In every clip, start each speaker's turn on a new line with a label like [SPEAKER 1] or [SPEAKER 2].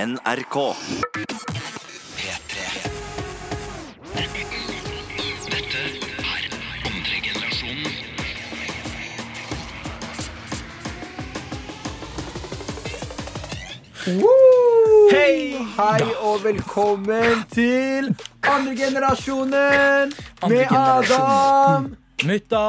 [SPEAKER 1] NRK.
[SPEAKER 2] Hei, hei og velkommen til andre generasjonen med Adam.
[SPEAKER 3] Mutta!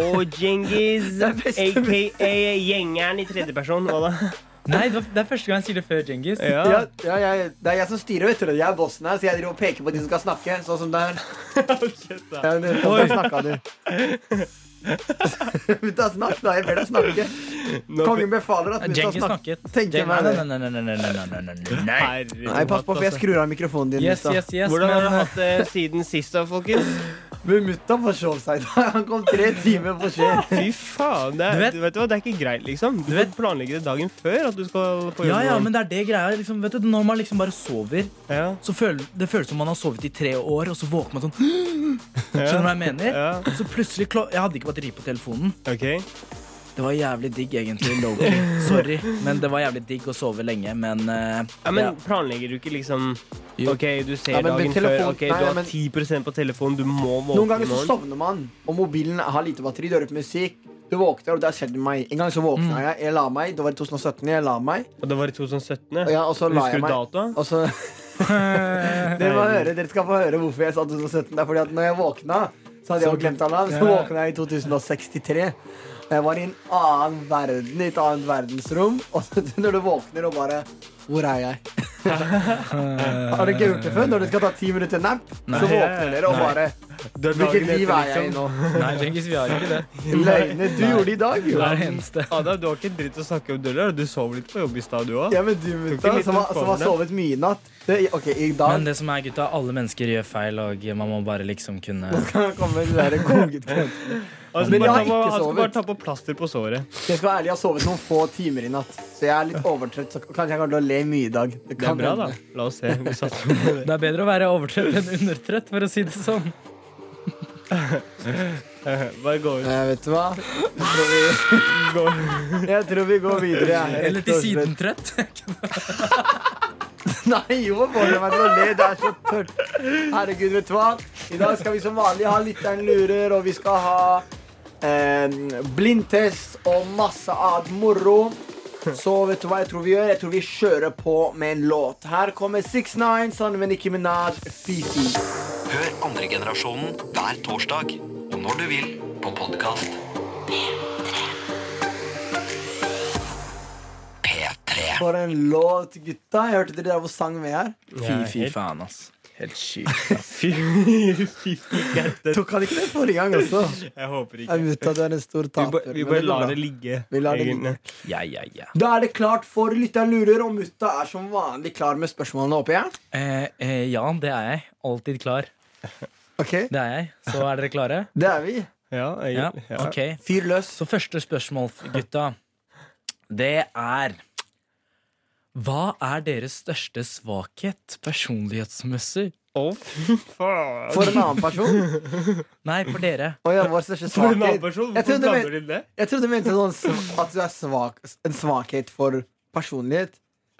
[SPEAKER 4] Og Djengis,
[SPEAKER 2] Det er beste
[SPEAKER 4] aka gjengeren i tredjeperson. Hva da?
[SPEAKER 3] Nei, det var- det er første gang jeg sier det før Djengis.
[SPEAKER 2] Ja, ja, jeg, det er jeg som styrer, vet du. Jeg er bossen her, så jeg driver og peker på de som skal snakke. Sånn som der. Ja, det er.
[SPEAKER 3] Oi.
[SPEAKER 2] Da snakka du. Slutt å snakke, da. Jeg ber deg snakke. Kongen befaler at du skal
[SPEAKER 3] Djengis
[SPEAKER 2] snakke.
[SPEAKER 3] snakket.
[SPEAKER 2] Tenkte jeg
[SPEAKER 3] Nei,
[SPEAKER 2] meg
[SPEAKER 3] nei,
[SPEAKER 2] det.
[SPEAKER 3] nei, nei, nei, nei, nei, nei, nei, nei, nei.
[SPEAKER 2] Nei,
[SPEAKER 4] Herregud.
[SPEAKER 2] pass på, for jeg skrur av mikrofonen din.
[SPEAKER 3] Yes,
[SPEAKER 2] Mutta.
[SPEAKER 3] yes, yes,
[SPEAKER 4] altså. Hvordan har dere
[SPEAKER 3] men uh,
[SPEAKER 4] hatt det siden sist, da, folkens?
[SPEAKER 2] Men mutta forsov seg i dag. Han kom tre timer for sent.
[SPEAKER 4] Fy faen. Det er,
[SPEAKER 3] Du vet-
[SPEAKER 4] du vet hva, det er ikke greit, liksom. Du
[SPEAKER 3] Du
[SPEAKER 4] vet,
[SPEAKER 3] vet-
[SPEAKER 4] planlegger det dagen før at du skal på jobb.
[SPEAKER 3] ja, ja,
[SPEAKER 4] morgenen.
[SPEAKER 3] men det er det greia. Liksom, vet du, når man liksom bare sover,
[SPEAKER 4] ja,
[SPEAKER 3] så føl, det føles som man har sovet i tre år, og så våker man sånn Skjønner du hva jeg mener?
[SPEAKER 4] ja.
[SPEAKER 3] Så plutselig klo Jeg hadde ikke batteri på telefonen.
[SPEAKER 4] Ok.
[SPEAKER 3] Det var jævlig digg, egentlig. Loki. Sorry. Men det var jævlig digg å sove lenge, men eh,
[SPEAKER 4] Ja, men
[SPEAKER 3] ja.
[SPEAKER 4] planlegger du ikke liksom
[SPEAKER 3] Jo.
[SPEAKER 4] OK, du ser
[SPEAKER 2] Ja, men
[SPEAKER 4] dagen
[SPEAKER 2] med telefon-
[SPEAKER 4] før. Ok,
[SPEAKER 2] Nei,
[SPEAKER 4] Du har
[SPEAKER 2] men-
[SPEAKER 4] 10 på telefonen. Du må våkne
[SPEAKER 2] Noen ganger så sovner man, og mobilen har lite batteri. Du hører på musikk. Du våkner, og det har skjedd med meg. En gang så
[SPEAKER 3] Mm.
[SPEAKER 2] våkna jeg. Jeg la meg. Det var i 2017. Jeg la meg.
[SPEAKER 4] Og det var i 2017.
[SPEAKER 2] Og, ja, og så la
[SPEAKER 4] Husker
[SPEAKER 2] jeg
[SPEAKER 4] du
[SPEAKER 2] meg.
[SPEAKER 4] datoa?
[SPEAKER 2] Og så, dere, må høre, dere skal få høre hvorfor jeg sa 2017. Det er fordi at når jeg våkna, så hadde jeg jo glemt alarm. Så
[SPEAKER 3] Ja.
[SPEAKER 2] våkna jeg i 2063. Og Jeg var i en annen verden, i et annet verdensrom. Og så når du våkner og bare Hvor er jeg? Har dere ikke gjort det før? Når dere skal ta ti minutter nap,
[SPEAKER 3] Nei.
[SPEAKER 2] så våkner dere og
[SPEAKER 3] Nei.
[SPEAKER 2] bare
[SPEAKER 4] Det er dagen
[SPEAKER 2] Hvilket liv
[SPEAKER 4] etter,
[SPEAKER 2] er
[SPEAKER 4] liksom.
[SPEAKER 2] jeg i nå?
[SPEAKER 3] Nei, Djengis, vi har ikke det.
[SPEAKER 2] Løgner du
[SPEAKER 3] Nei.
[SPEAKER 2] gjorde i dag, jo.
[SPEAKER 3] Det er det eneste.
[SPEAKER 4] Adam, du har ikke dritt å snakke om døra. Du sov litt på jobb i stad, du òg.
[SPEAKER 2] Ja, men du,
[SPEAKER 4] Tok
[SPEAKER 2] mutta,
[SPEAKER 4] det litt
[SPEAKER 2] som, har-
[SPEAKER 4] ut
[SPEAKER 2] som har
[SPEAKER 4] formen.
[SPEAKER 2] sovet mye i natt. Det, ok, i dag
[SPEAKER 3] Men det som er, gutta, alle mennesker gjør feil, og man må bare liksom kunne
[SPEAKER 2] kan det komme det der kongekrem.
[SPEAKER 4] Altså,
[SPEAKER 2] Men jeg
[SPEAKER 4] bare
[SPEAKER 2] har
[SPEAKER 4] ta på-
[SPEAKER 2] ikke
[SPEAKER 4] han skal
[SPEAKER 2] sovet.
[SPEAKER 4] bare ta på plaster på såret.
[SPEAKER 2] Jeg skal være ærlig, jeg har sovet noen få timer i natt, så jeg er litt overtrøtt. Så kanskje jeg kommer til å le mye i dag. Det
[SPEAKER 4] Det er
[SPEAKER 2] kan
[SPEAKER 4] bra, da.
[SPEAKER 2] hende.
[SPEAKER 4] La oss se. Vi satser på det.
[SPEAKER 3] Det er bedre å være overtrøtt enn undertrøtt, for å si det sånn.
[SPEAKER 4] Bare gå ut.
[SPEAKER 2] Eh, vet du hva? Jeg tror vi går, jeg tror vi går videre. jeg.
[SPEAKER 3] Eller
[SPEAKER 2] Rett
[SPEAKER 3] til
[SPEAKER 2] og slett.
[SPEAKER 3] sidentrøtt.
[SPEAKER 2] Nei, jo, bare meg til å le. Det er så tørt. Herregud, vet du hva? I dag skal vi som vanlig ha lytteren lurer, og vi skal ha eh, blindtest og masse annet moro. Så vet du hva jeg tror vi gjør? Jeg tror vi kjører på med en låt. Her kommer 6ix9ine sammen med Nicki Minaj, Fifi.
[SPEAKER 1] Hør andre generasjonen hver torsdag og når du vil på podkast. P3.
[SPEAKER 2] For en låt, gutta. Jeg hørte dere der hvor sang med her.
[SPEAKER 3] Fy, fy faen, ass. Helt sjukt.
[SPEAKER 4] Fy fy fette.
[SPEAKER 2] Tok han ikke det forrige gang også?
[SPEAKER 4] Jeg håper ikke.
[SPEAKER 2] Jeg vet at du er en stor
[SPEAKER 4] Vi,
[SPEAKER 2] taper.
[SPEAKER 4] ba, vi
[SPEAKER 2] men det
[SPEAKER 4] bare
[SPEAKER 2] går
[SPEAKER 4] lar
[SPEAKER 2] bra.
[SPEAKER 4] det ligge.
[SPEAKER 2] Vi lar det ligge.
[SPEAKER 4] egentlig.
[SPEAKER 3] Ja, ja, ja.
[SPEAKER 2] Da er det klart for lytteren lurer, og mutta er som vanlig klar med spørsmålene oppe igjen.
[SPEAKER 3] Eh, eh, ja, det er jeg. Alltid klar.
[SPEAKER 2] Ok,
[SPEAKER 3] Det er jeg. Så er dere klare?
[SPEAKER 2] det er vi.
[SPEAKER 4] Ja,
[SPEAKER 3] Ja.
[SPEAKER 4] egentlig. Ja.
[SPEAKER 3] Ok.
[SPEAKER 2] Fyr løs.
[SPEAKER 3] Så første spørsmål, gutta, det er Hva er deres største svakhet personlighetsmessig?
[SPEAKER 4] Å, fy faen.
[SPEAKER 2] For en annen person.
[SPEAKER 3] Nei, for dere.
[SPEAKER 2] Oi, ja, vår største
[SPEAKER 4] For en
[SPEAKER 2] svakhet.
[SPEAKER 4] annen
[SPEAKER 2] Jeg
[SPEAKER 4] person? Hvorfor
[SPEAKER 2] trodde
[SPEAKER 4] blander
[SPEAKER 2] vi-
[SPEAKER 4] du det?
[SPEAKER 2] Jeg trodde du mente sånn sv- at du er svak, en svakhet for personlighet.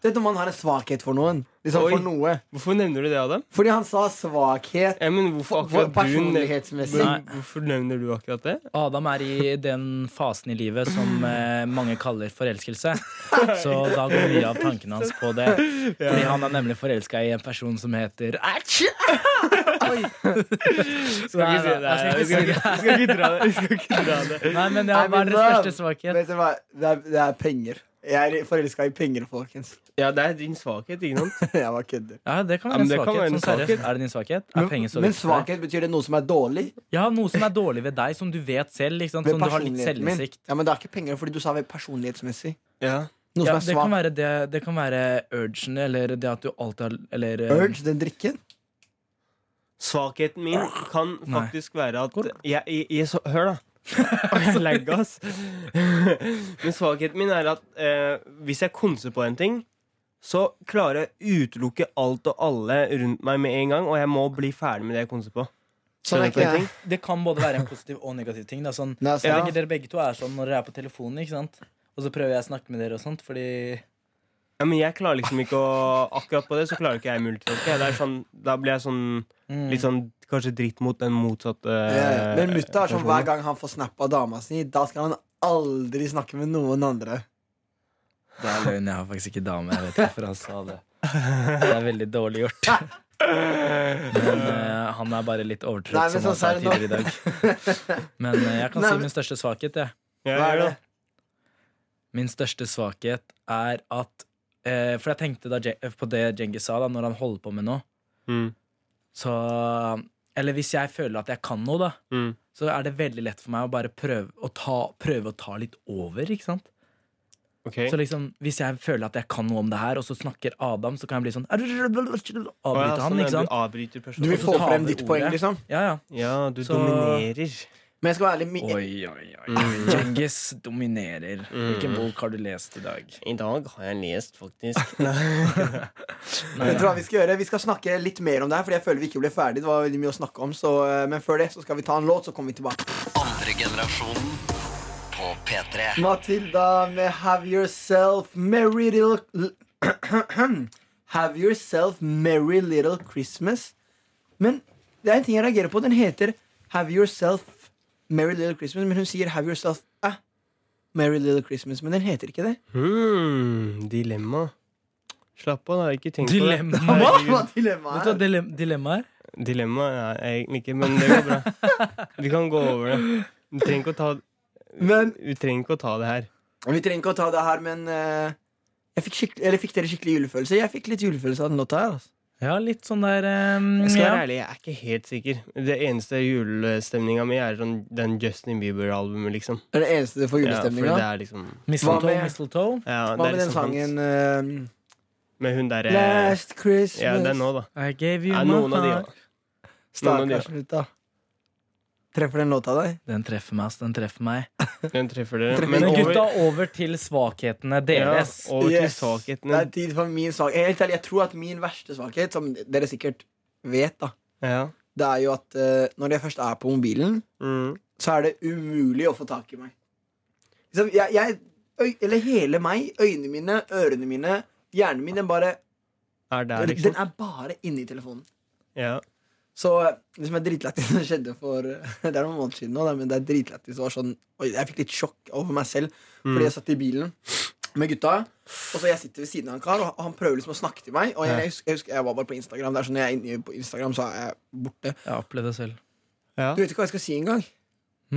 [SPEAKER 2] Det er når man har en svakhet for noen. Liksom
[SPEAKER 4] Oi.
[SPEAKER 2] for noe.
[SPEAKER 4] Hvorfor nevner du det, Adam?
[SPEAKER 2] Fordi han sa svakhet
[SPEAKER 4] Ja, men
[SPEAKER 2] for
[SPEAKER 4] hvorfor akkurat du nev-
[SPEAKER 2] personlighetsmessig.
[SPEAKER 3] Nei.
[SPEAKER 4] Men Hvorfor nevner du akkurat det?
[SPEAKER 3] Adam er i den fasen i livet som eh, mange kaller forelskelse. Så da går mye av tankene hans på det. Fordi han er nemlig forelska i en person som heter Æsj! Oi.
[SPEAKER 4] Skal ikke si det.
[SPEAKER 3] Nei, nei,
[SPEAKER 4] her.
[SPEAKER 3] jeg skal ikke si det.
[SPEAKER 4] Skal ikke dra det. Skal ikke dra det.
[SPEAKER 3] Nei, men
[SPEAKER 2] Nei,
[SPEAKER 3] ja, hva
[SPEAKER 2] men
[SPEAKER 3] er deres
[SPEAKER 2] da-
[SPEAKER 3] største svakhet?
[SPEAKER 2] Vet du hva? Det er, det er penger. Jeg er forelska i penger, folkens.
[SPEAKER 4] Ja, det er din svakhet, ikke sant?
[SPEAKER 2] Jeg bare kødder.
[SPEAKER 3] Ja, det kan
[SPEAKER 4] Ja, men
[SPEAKER 3] være en
[SPEAKER 4] det kan
[SPEAKER 3] svakhet.
[SPEAKER 4] være en
[SPEAKER 3] sånn seriøst.
[SPEAKER 4] svakhet.
[SPEAKER 3] Er det din svakhet? Er
[SPEAKER 2] Men,
[SPEAKER 3] penger så
[SPEAKER 2] men
[SPEAKER 3] viktig for deg?
[SPEAKER 2] svakhet betyr det noe som er dårlig?
[SPEAKER 3] Ja, noe som er dårlig ved deg, som du vet selv. Ikke sant?
[SPEAKER 2] Ved
[SPEAKER 3] Som du har litt
[SPEAKER 2] personligheten min.
[SPEAKER 3] selvinnsikt.
[SPEAKER 2] Ja, men det er ikke penger, fordi du sa ved personlighetsmessig.
[SPEAKER 4] Ja.
[SPEAKER 2] Noe
[SPEAKER 3] Ja,
[SPEAKER 2] som
[SPEAKER 3] det,
[SPEAKER 2] er
[SPEAKER 3] kan
[SPEAKER 2] svakt.
[SPEAKER 3] være det, det kan være urgen, eller det at du alltid har Eller eh,
[SPEAKER 2] Urge, den drikken.
[SPEAKER 4] Svakheten min kan
[SPEAKER 3] Nei.
[SPEAKER 4] faktisk være at jeg, jeg, jeg, så, Hør, da. Altså, legg oss. Men svakheten min er at eh, hvis jeg konser på en ting, så klarer jeg å utelukke alt og alle rundt meg med en gang, og jeg må bli ferdig med det jeg konser på.
[SPEAKER 2] Sånn er
[SPEAKER 4] Skjønner du
[SPEAKER 2] ikke
[SPEAKER 4] på en
[SPEAKER 2] jeg.
[SPEAKER 4] ting?
[SPEAKER 3] Det kan både være en positiv og negativ ting. Da. Sånn,
[SPEAKER 2] Nei, altså,
[SPEAKER 3] jeg
[SPEAKER 2] ja.
[SPEAKER 3] tenker Dere begge to er sånn når dere er på telefonen, ikke sant? og så prøver jeg å snakke med dere og sånt, fordi
[SPEAKER 4] Ja, men jeg klarer liksom ikke å Akkurat på det så klarer ikke jeg multitaske. Det er sånn, da blir jeg sånn
[SPEAKER 2] Mm.
[SPEAKER 4] litt sånn kanskje dritt mot den motsatte
[SPEAKER 2] Eh, Men mutta er sånn
[SPEAKER 4] personen.
[SPEAKER 2] hver gang han får snappa dama si, da skal han aldri snakke med noen andre.
[SPEAKER 3] Det er løgn. Jeg har faktisk ikke dame. Jeg vet ikke hvorfor han sa det. Det er veldig dårlig gjort. Men eh, han er bare litt
[SPEAKER 2] Nei,
[SPEAKER 3] overtrøtt,
[SPEAKER 2] men
[SPEAKER 3] som han sa
[SPEAKER 2] sånn er det nå.
[SPEAKER 3] tidligere i dag. Men eh, jeg kan
[SPEAKER 2] Nei,
[SPEAKER 3] si
[SPEAKER 2] men-
[SPEAKER 3] min største svakhet, jeg.
[SPEAKER 4] Ja,
[SPEAKER 2] Hva er
[SPEAKER 4] ja.
[SPEAKER 2] det?
[SPEAKER 3] Min største svakhet er at eh, For jeg tenkte da, Je- på det Djengis sa, da, når han holder på med noe.
[SPEAKER 4] Mm,
[SPEAKER 3] Så Eller hvis jeg føler at jeg kan noe, da,
[SPEAKER 4] mm.
[SPEAKER 3] så er det veldig lett for meg å bare prøve å ta, prøve å ta litt over, ikke sant?
[SPEAKER 4] Ok.
[SPEAKER 3] Så liksom, hvis jeg føler at jeg kan noe om det her, og så snakker Adam, så kan jeg bli sånn
[SPEAKER 4] Å, ja,
[SPEAKER 3] Avbryte han,
[SPEAKER 4] sånn,
[SPEAKER 3] ikke
[SPEAKER 4] ja,
[SPEAKER 3] sant?
[SPEAKER 4] Du avbryter
[SPEAKER 2] Du
[SPEAKER 4] personen.
[SPEAKER 2] vil
[SPEAKER 3] Og så
[SPEAKER 2] få
[SPEAKER 3] tar
[SPEAKER 2] frem
[SPEAKER 3] vi
[SPEAKER 2] ditt poeng,
[SPEAKER 3] ordet.
[SPEAKER 2] liksom.
[SPEAKER 3] Ja, ja.
[SPEAKER 4] Ja, du
[SPEAKER 3] Så-
[SPEAKER 4] dominerer.
[SPEAKER 2] Men jeg skal være ærlig.
[SPEAKER 4] Mm.
[SPEAKER 2] mi-
[SPEAKER 3] Oi, oi, oi. Djengis dominerer. Hvilken bok har du lest i dag?
[SPEAKER 4] I dag har jeg lest, faktisk.
[SPEAKER 2] Jeg tror hva Vi skal gjøre Vi skal snakke litt mer om det her, Fordi jeg føler vi ikke ble ferdig. Det var veldig mye å snakke om så, eh, Men før det så skal vi ta en låt, så kommer vi tilbake.
[SPEAKER 1] Andre generasjonen på P3.
[SPEAKER 2] Matilda med Have Yourself Merry Little Have Yourself Merry Little Christmas. Men det er en ting jeg reagerer på. Den heter Have Yourself Merry Little Christmas, men hun sier Have Yourself a Merry Little Christmas. Men den heter ikke det.
[SPEAKER 4] Hmm, dilemma. Slapp av, da. Ikke tenk på det.
[SPEAKER 3] Dilemma.
[SPEAKER 2] Hva var
[SPEAKER 3] Vet du hva
[SPEAKER 2] dilemmaet? her?
[SPEAKER 3] dilem- dilemma er?
[SPEAKER 4] Dilemma er jeg egentlig ikke, men det går bra. Vi kan gå over det. Du trenger ikke å ta,
[SPEAKER 2] Men
[SPEAKER 4] du trenger ikke å ta det her.
[SPEAKER 2] Vi trenger ikke å ta det her, men eh, jeg fikk, skikk- eller fikk dere skikkelig julefølelse? Jeg fikk litt julefølelse av den låta her. Altså.
[SPEAKER 3] Ja, litt sånn der ehm,
[SPEAKER 4] Jeg skal
[SPEAKER 3] ja.
[SPEAKER 4] være ærlig, jeg er ikke helt sikker. Det eneste julestemninga mi er sånn den Justin Bieber-albumet, liksom.
[SPEAKER 2] Det er det eneste du får
[SPEAKER 4] Ja, for
[SPEAKER 2] julestemning
[SPEAKER 4] det
[SPEAKER 2] av.
[SPEAKER 4] er liksom
[SPEAKER 2] Hva
[SPEAKER 3] Mistletoe,
[SPEAKER 2] med-
[SPEAKER 3] mistletoe.
[SPEAKER 4] ja,
[SPEAKER 2] Hva
[SPEAKER 4] det er
[SPEAKER 2] med den
[SPEAKER 4] liksom hans-
[SPEAKER 2] sangen eh,
[SPEAKER 4] Med hun derre
[SPEAKER 2] Last Christmas?
[SPEAKER 4] Ja, det er nå, da.
[SPEAKER 3] I gave you
[SPEAKER 4] Ja,
[SPEAKER 3] my
[SPEAKER 4] noen av de, da.
[SPEAKER 3] heart.
[SPEAKER 4] Noen av
[SPEAKER 2] Stakkars
[SPEAKER 4] de,
[SPEAKER 2] gutta. Treffer den låta deg?
[SPEAKER 3] Den treffer meg, ass. Den treffer meg.
[SPEAKER 4] Den treffer dere.
[SPEAKER 2] Treffer
[SPEAKER 4] Men
[SPEAKER 3] Men gutta,
[SPEAKER 4] over,
[SPEAKER 3] over til svakhetene
[SPEAKER 4] ja,
[SPEAKER 3] deres.
[SPEAKER 4] over til
[SPEAKER 2] Yes. Det
[SPEAKER 4] svakhetene.
[SPEAKER 2] er tid for min svakhet. Helt ærlig, jeg tror at min verste svakhet, som dere sikkert vet, da
[SPEAKER 4] Ja.
[SPEAKER 2] det er jo at eh, når jeg først er på mobilen,
[SPEAKER 4] Mm.
[SPEAKER 2] så er det umulig å få tak i meg. Liksom, jeg, jeg øy, Eller hele meg. Øynene mine, ørene mine, hjernen min, den bare
[SPEAKER 4] Er der,
[SPEAKER 2] Den
[SPEAKER 4] liksom.
[SPEAKER 2] er bare inni telefonen.
[SPEAKER 4] Ja.
[SPEAKER 2] Så eh, det som er dritlættis som skjedde for Det er noen måneder siden nå, da, men det er dritlættis. Det var Sånn, oi, jeg fikk litt sjokk over meg selv fordi
[SPEAKER 4] Mm.
[SPEAKER 2] jeg satt i bilen med gutta. Og så Jeg sitter ved siden av en kar, og han prøver liksom å snakke til meg. Og jeg, jeg, husker, jeg husker jeg var bare på Instagram. Det er sånn, Når jeg er inne på Instagram, så er jeg borte.
[SPEAKER 3] Jeg har opplevd det selv.
[SPEAKER 4] Ja.
[SPEAKER 2] Du vet ikke hva jeg skal si engang.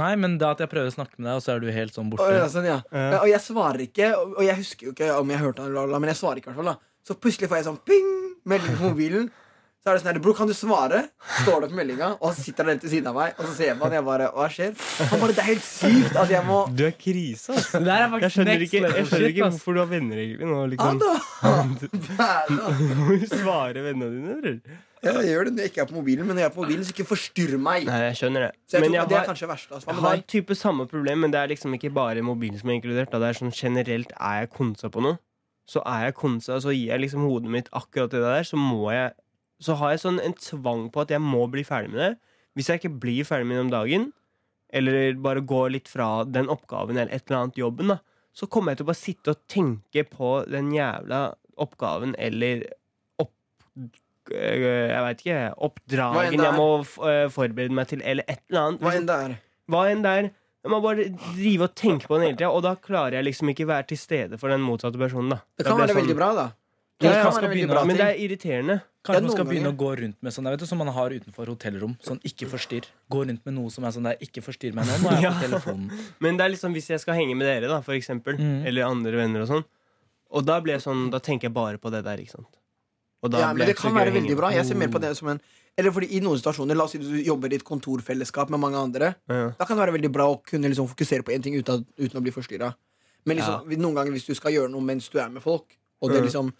[SPEAKER 3] Nei, men det at jeg prøver å snakke med deg, og så er du helt sånn
[SPEAKER 2] Og, ja,
[SPEAKER 3] borte.
[SPEAKER 2] sånn, ja.
[SPEAKER 4] Ja.
[SPEAKER 2] Ja, og jeg svarer ikke, og, og jeg husker jo ikke om jeg hørte han, eller la, men jeg svarer ikke i hvert fall. da Så plutselig får jeg sånn ping, melding på mobilen. Så er det sånn her, bror, kan du svare? Står det på meldinga, og han sitter der helt ved siden av meg. Og så ser jeg på han, og jeg bare, hva skjer? Han bare, det er helt sykt at jeg må
[SPEAKER 4] Mm. Du er krise, ass.
[SPEAKER 3] Det her er
[SPEAKER 4] Jeg skjønner ikke, jeg skjønner ikke
[SPEAKER 3] ass.
[SPEAKER 4] hvorfor du har venner, egentlig. Nå,
[SPEAKER 2] Ja
[SPEAKER 4] liksom.
[SPEAKER 2] da! Dæven.
[SPEAKER 4] Du må jo svare vennene dine, eller?
[SPEAKER 2] Ja, jeg gjør det når jeg ikke er på mobilen, men når jeg er på mobilen, så ikke forstyrr meg.
[SPEAKER 4] Nei, jeg skjønner det.
[SPEAKER 2] Så jeg
[SPEAKER 4] Men
[SPEAKER 2] tror
[SPEAKER 4] jeg
[SPEAKER 2] det er
[SPEAKER 4] har,
[SPEAKER 2] kanskje det verste. Altså.
[SPEAKER 4] jeg
[SPEAKER 2] Hva
[SPEAKER 4] har
[SPEAKER 2] med deg?
[SPEAKER 4] type samme problem, men det er liksom ikke bare mobilen som er inkludert. Da. Det er sånn generelt er jeg konsa på noe, så er jeg konsa, og så gir jeg liksom hodet mitt akkurat det der, så må jeg Så har jeg sånn en tvang på at jeg må bli ferdig med det. Hvis jeg ikke blir ferdig med det om dagen, eller bare går litt fra den oppgaven eller et eller annet jobben, da, så kommer jeg til å bare sitte og tenke på den jævla oppgaven eller opp... øh, Jeg veit ikke.
[SPEAKER 2] Hva enn
[SPEAKER 4] Oppdragen
[SPEAKER 2] det er.
[SPEAKER 4] jeg må f- øh, forberede meg til, eller et eller annet.
[SPEAKER 2] Hva enn det er.
[SPEAKER 4] Hva enn det er. Jeg må bare drive og tenke på den hele tida, og da klarer jeg liksom ikke være til stede for den motsatte personen. da
[SPEAKER 2] Det
[SPEAKER 4] Da
[SPEAKER 2] kan
[SPEAKER 4] blir
[SPEAKER 2] være
[SPEAKER 4] jeg sånn-
[SPEAKER 2] veldig bra, da.
[SPEAKER 3] Ja,
[SPEAKER 2] Det
[SPEAKER 3] ja,
[SPEAKER 2] kan
[SPEAKER 3] skal
[SPEAKER 2] være veldig
[SPEAKER 3] begynne,
[SPEAKER 2] bra
[SPEAKER 4] Men det
[SPEAKER 2] ting.
[SPEAKER 4] er irriterende.
[SPEAKER 3] Kanskje
[SPEAKER 2] Ja,
[SPEAKER 3] man skal
[SPEAKER 2] noen
[SPEAKER 3] begynne
[SPEAKER 2] ganger.
[SPEAKER 3] å gå rundt med sånn der, vet du, som man har utenfor hotellrom. Sånn ikke forstyrr. Gå rundt med noe som er sånn der, ikke forstyrr meg nå, nå er jeg på
[SPEAKER 4] Ja.
[SPEAKER 3] telefonen.
[SPEAKER 4] Men det er liksom hvis jeg skal henge med dere, da, for eksempel,
[SPEAKER 3] Mm.
[SPEAKER 4] eller andre venner og sånn, og da blir jeg sånn, da tenker jeg bare på det der, ikke sant. Og da
[SPEAKER 2] Ja,
[SPEAKER 4] blir
[SPEAKER 2] men
[SPEAKER 4] jeg
[SPEAKER 2] det
[SPEAKER 4] ikke så
[SPEAKER 2] kan
[SPEAKER 4] gøy å
[SPEAKER 2] være
[SPEAKER 4] henge
[SPEAKER 2] veldig bra. Jeg ser mer på
[SPEAKER 4] Mm.
[SPEAKER 2] det som en Eller fordi i noen situasjoner, la oss si du jobber i et kontorfellesskap med mange andre,
[SPEAKER 4] Ja.
[SPEAKER 2] da kan det være veldig bra å kunne liksom fokusere på én ting uten, at- uten å bli forstyrra. Men liksom, noen ganger hvis du skal gjøre noe mens du er med folk, og det
[SPEAKER 4] Mm.
[SPEAKER 2] liksom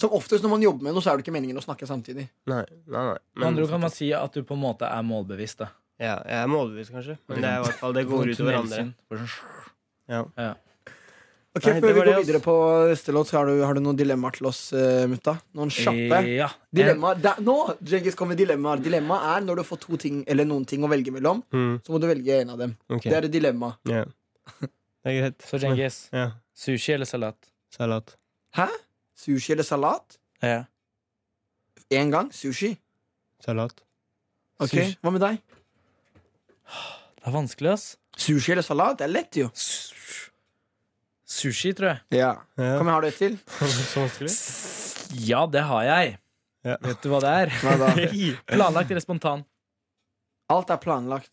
[SPEAKER 2] Som oftest når man jobber med noe, så er det ikke meningen å snakke samtidig.
[SPEAKER 4] Nei, nei, nei.
[SPEAKER 3] Med andre ord kan man si at du på en måte er målbevisst. da
[SPEAKER 4] ja, jeg er målbevisst, kanskje. Men det er i hvert fall, det går ut over andre.
[SPEAKER 3] Tunnelsyn. Bare sånn,
[SPEAKER 4] Ja.
[SPEAKER 3] Ja.
[SPEAKER 2] Ok,
[SPEAKER 4] Nei, det
[SPEAKER 2] Før vi
[SPEAKER 4] var
[SPEAKER 2] går
[SPEAKER 4] det, ass.
[SPEAKER 2] videre på neste låt, så har du, har du noen dilemmaer til oss, eh, mutta? Noen kjappe?
[SPEAKER 3] Ja.
[SPEAKER 2] Dilemma, da, nå Djengis, kommer dilemmaer. Dilemma er når du får to ting eller noen ting å velge mellom,
[SPEAKER 4] Mm,
[SPEAKER 2] så må du velge en av dem.
[SPEAKER 4] ok.
[SPEAKER 2] Det er et dilemma.
[SPEAKER 4] Ja. Det er greit.
[SPEAKER 3] Så Djengis,
[SPEAKER 4] Ja.
[SPEAKER 3] sushi eller salat?
[SPEAKER 4] Salat.
[SPEAKER 2] Sushi eller salat?
[SPEAKER 5] Ja.
[SPEAKER 2] Én gang sushi.
[SPEAKER 4] Salat.
[SPEAKER 2] Ok,
[SPEAKER 5] Sushi.
[SPEAKER 2] Hva med deg?
[SPEAKER 5] Det er vanskelig, ass.
[SPEAKER 2] Sushi eller salat? Det er lett, jo.
[SPEAKER 3] Su- Sushi, tror jeg.
[SPEAKER 2] Ja.
[SPEAKER 4] Ja.
[SPEAKER 2] Kom, jeg har du et til.
[SPEAKER 4] Så vanskelig.
[SPEAKER 3] Ja, det har jeg.
[SPEAKER 4] Ja.
[SPEAKER 3] Vet du hva det er?
[SPEAKER 2] Hva da?
[SPEAKER 3] Planlagt eller spontan?
[SPEAKER 2] Alt er planlagt.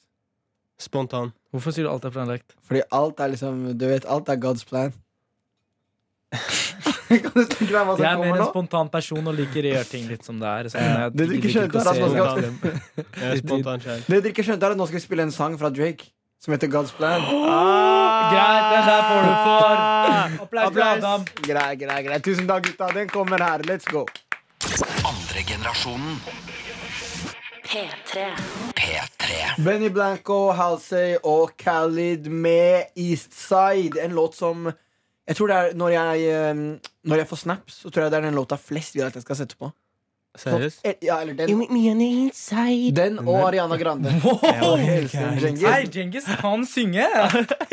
[SPEAKER 4] Spontan.
[SPEAKER 3] Hvorfor sier du alt er planlagt?
[SPEAKER 2] Fordi alt er liksom Du vet, alt er God's plan. kan du tenke deg hva som
[SPEAKER 3] Jeg er mer
[SPEAKER 2] kommer
[SPEAKER 3] en
[SPEAKER 2] nå?
[SPEAKER 3] spontan person og liker å gjøre ting litt som det er. så jeg
[SPEAKER 2] Det du ikke
[SPEAKER 3] liker
[SPEAKER 2] skjønte, er
[SPEAKER 3] å
[SPEAKER 2] at
[SPEAKER 3] se
[SPEAKER 2] man skal-
[SPEAKER 3] hvordan-
[SPEAKER 4] Jeg er Eh, spontan sjæl.
[SPEAKER 2] Det dere ikke skjønte, er at nå skal vi spille en sang fra Drake som heter God's Plan.
[SPEAKER 3] Greit, den der får du for. Applaus til
[SPEAKER 2] Applaus.
[SPEAKER 3] Adam.
[SPEAKER 2] Grei, grei, grei. Tusen takk, gutta. Den kommer her. Let's go.
[SPEAKER 1] Andre generasjonen.
[SPEAKER 6] P3.
[SPEAKER 1] P3.
[SPEAKER 2] Benny Blanco, Halsey og Khalid med Eastside. En låt som Jeg tror det er Når jeg, eh, når jeg får snaps, så tror jeg det er den låta flest vil at jeg skal sette på.
[SPEAKER 4] Seriøst?
[SPEAKER 2] Eh, Ja, eller den,
[SPEAKER 4] me on the inside.
[SPEAKER 2] den og Ariana Grande. Og Helsten
[SPEAKER 3] Hei,
[SPEAKER 2] Cengiz.
[SPEAKER 3] Djengis, kan synge!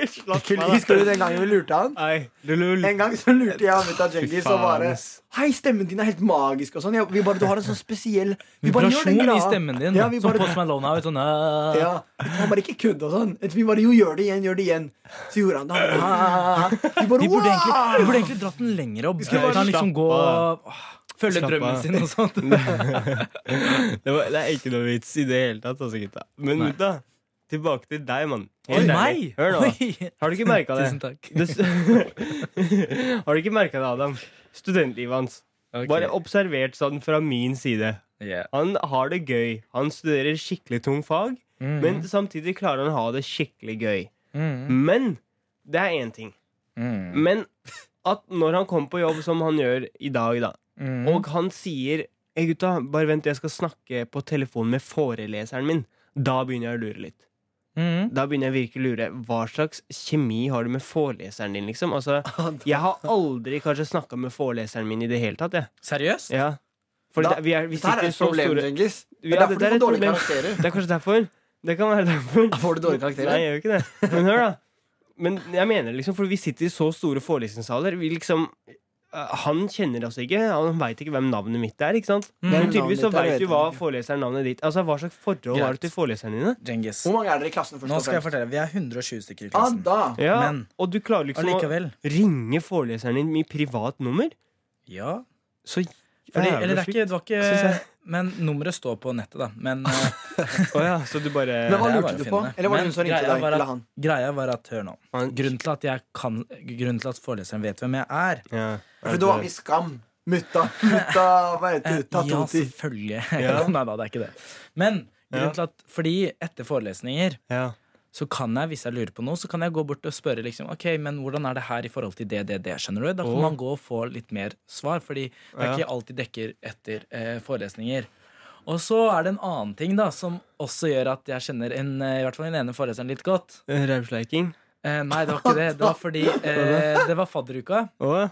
[SPEAKER 2] Husker du den gangen vi lurte han?
[SPEAKER 4] Nei, lulul.
[SPEAKER 2] En gang så lurte jeg Amita Cengiz og
[SPEAKER 4] faen,
[SPEAKER 2] bare
[SPEAKER 4] ass.
[SPEAKER 2] Hei, stemmen din er helt magisk og sånn. Jeg- Vi bare, du har en sånn spesiell vi bare gjør den
[SPEAKER 3] Vibrasjon i
[SPEAKER 2] glad.
[SPEAKER 3] stemmen din.
[SPEAKER 2] Ja, vi
[SPEAKER 3] som
[SPEAKER 2] bare-
[SPEAKER 3] Post Malone har. Sånn, øh.
[SPEAKER 2] Ja, Han bare ikke kødd og sånn. Vi bare jo, gjør det igjen, gjør det igjen. Så gjorde han det. Han bare, Vi bare,
[SPEAKER 3] Vi burde,
[SPEAKER 2] wow!
[SPEAKER 3] egentlig, vi burde egentlig dratt den lenger opp.
[SPEAKER 4] skulle
[SPEAKER 3] Vi
[SPEAKER 4] bare
[SPEAKER 3] kan liksom
[SPEAKER 4] slappe
[SPEAKER 3] gå
[SPEAKER 4] av.
[SPEAKER 3] åh, Følge
[SPEAKER 4] Slappe
[SPEAKER 3] drømmen
[SPEAKER 4] av.
[SPEAKER 3] sin og sånt.
[SPEAKER 4] Det, var, det er ikke noe vits i det hele tatt, altså, gutta. Men
[SPEAKER 3] Nei.
[SPEAKER 4] gutta, tilbake til deg, mann.
[SPEAKER 3] Oi,
[SPEAKER 4] Helt
[SPEAKER 3] meg!
[SPEAKER 4] ærlig. Hør nå.
[SPEAKER 3] Oi.
[SPEAKER 4] Har du ikke merka det?
[SPEAKER 3] Tusen takk.
[SPEAKER 4] det s- har du ikke merka det, Adam? Studentlivet hans.
[SPEAKER 3] Ok.
[SPEAKER 4] Bare observert sånn fra min side.
[SPEAKER 3] Yeah.
[SPEAKER 4] Han har det gøy. Han studerer skikkelig tung fag,
[SPEAKER 3] Mm.
[SPEAKER 4] men
[SPEAKER 2] Mhm.
[SPEAKER 4] samtidig klarer han å ha det skikkelig gøy.
[SPEAKER 3] Mm.
[SPEAKER 4] Men det er én ting.
[SPEAKER 3] Mm.
[SPEAKER 4] Men at når han kommer på jobb, som han gjør i dag, da,
[SPEAKER 3] Mm.
[SPEAKER 4] og han sier Hei, gutta, bare vent, jeg skal snakke på telefon med foreleseren min. Da begynner jeg å lure litt.
[SPEAKER 3] Mm.
[SPEAKER 4] Da begynner jeg virkelig å lure. Hva slags kjemi har du med foreleseren din, liksom? Altså, jeg har aldri kanskje snakka med foreleseren min i det hele tatt, jeg.
[SPEAKER 3] Seriøst?
[SPEAKER 4] Ja. For
[SPEAKER 2] Da-
[SPEAKER 4] det, vi er, vi
[SPEAKER 2] Dette her
[SPEAKER 4] sitter
[SPEAKER 2] er
[SPEAKER 4] i
[SPEAKER 2] et
[SPEAKER 4] så
[SPEAKER 2] problem,
[SPEAKER 4] store
[SPEAKER 2] Djengis. Det
[SPEAKER 4] Ja,
[SPEAKER 2] er derfor du
[SPEAKER 4] det der er
[SPEAKER 2] får
[SPEAKER 4] et
[SPEAKER 2] dårlige
[SPEAKER 4] problem.
[SPEAKER 2] karakterer.
[SPEAKER 4] Det er kanskje derfor. Det kan være derfor.
[SPEAKER 2] Da får du dårlige
[SPEAKER 4] Nei,
[SPEAKER 2] karakterer.
[SPEAKER 4] jeg gjør ikke det. Men hør, da. Men jeg mener liksom, for vi sitter i så store forelesningssaler. Vi liksom eh, han kjenner oss ikke. Han veit ikke hvem navnet mitt er. ikke sant?
[SPEAKER 3] Mm.
[SPEAKER 4] Men
[SPEAKER 2] Hvem navnet
[SPEAKER 4] tydeligvis så
[SPEAKER 2] ditt er, vet
[SPEAKER 4] veit du
[SPEAKER 2] han
[SPEAKER 4] hva
[SPEAKER 2] ikke.
[SPEAKER 4] foreleseren navnet ditt Altså, Hva slags forhold har
[SPEAKER 3] Greit.
[SPEAKER 4] du til foreleserne dine?
[SPEAKER 3] Djengis.
[SPEAKER 2] Hvor mange er dere i klassen?
[SPEAKER 3] Nå skal jeg fortelle. Vi er 120
[SPEAKER 2] Ah,
[SPEAKER 3] stykker i klassen.
[SPEAKER 2] Ada!
[SPEAKER 4] Ja,
[SPEAKER 3] Men-
[SPEAKER 4] Og du klarer liksom å
[SPEAKER 3] Allikevel.
[SPEAKER 4] ringe foreleseren din med privat nummer?
[SPEAKER 3] Ja.
[SPEAKER 4] Så
[SPEAKER 3] Fordi,
[SPEAKER 4] jævla
[SPEAKER 3] eller det er
[SPEAKER 4] sjukt.
[SPEAKER 3] ikke, det var
[SPEAKER 4] Synes
[SPEAKER 3] ikke
[SPEAKER 4] jeg.
[SPEAKER 3] Men nummeret står på nettet, da. Men eh,
[SPEAKER 4] Å ja, så du bare
[SPEAKER 2] Men hva
[SPEAKER 3] Det er bare
[SPEAKER 2] lurte du
[SPEAKER 3] å
[SPEAKER 2] på?
[SPEAKER 3] finne.
[SPEAKER 2] Eller var det
[SPEAKER 3] Men
[SPEAKER 2] hun som ringte
[SPEAKER 3] greia
[SPEAKER 2] deg?
[SPEAKER 3] var at-
[SPEAKER 2] Eller han?
[SPEAKER 3] greia var at Hør nå.
[SPEAKER 4] Han-
[SPEAKER 3] Grunnen til at, jeg kan, grunnen til at foreleseren vet hvem jeg er,
[SPEAKER 4] ja,
[SPEAKER 2] For du var med i Skam. Mutta. Mutta hva heter det?
[SPEAKER 3] Eh, Ja,
[SPEAKER 2] Tatoti.
[SPEAKER 3] selvfølgelig.
[SPEAKER 4] Ja.
[SPEAKER 3] Nei da, det er ikke det. Men
[SPEAKER 4] Ja.
[SPEAKER 3] grunnen til at, fordi etter forelesninger
[SPEAKER 4] ja.
[SPEAKER 3] så kan jeg, hvis jeg lurer på noe, så kan jeg gå bort og spørre liksom, ok, men hvordan er det her i forhold til det, det, det, skjønner du? Da kan
[SPEAKER 4] Åh.
[SPEAKER 3] man gå og få litt mer svar, fordi det er
[SPEAKER 4] Ja.
[SPEAKER 3] ikke alltid dekker etter eh, forelesninger. Og så er det en annen ting da, som også gjør at jeg kjenner en, eh, i hvert fall den ene foreleseren litt godt.
[SPEAKER 4] Rævsleiking.
[SPEAKER 3] Eh, nei, det var ikke det. Det var fordi eh, det var fadderuka.
[SPEAKER 4] Å ja.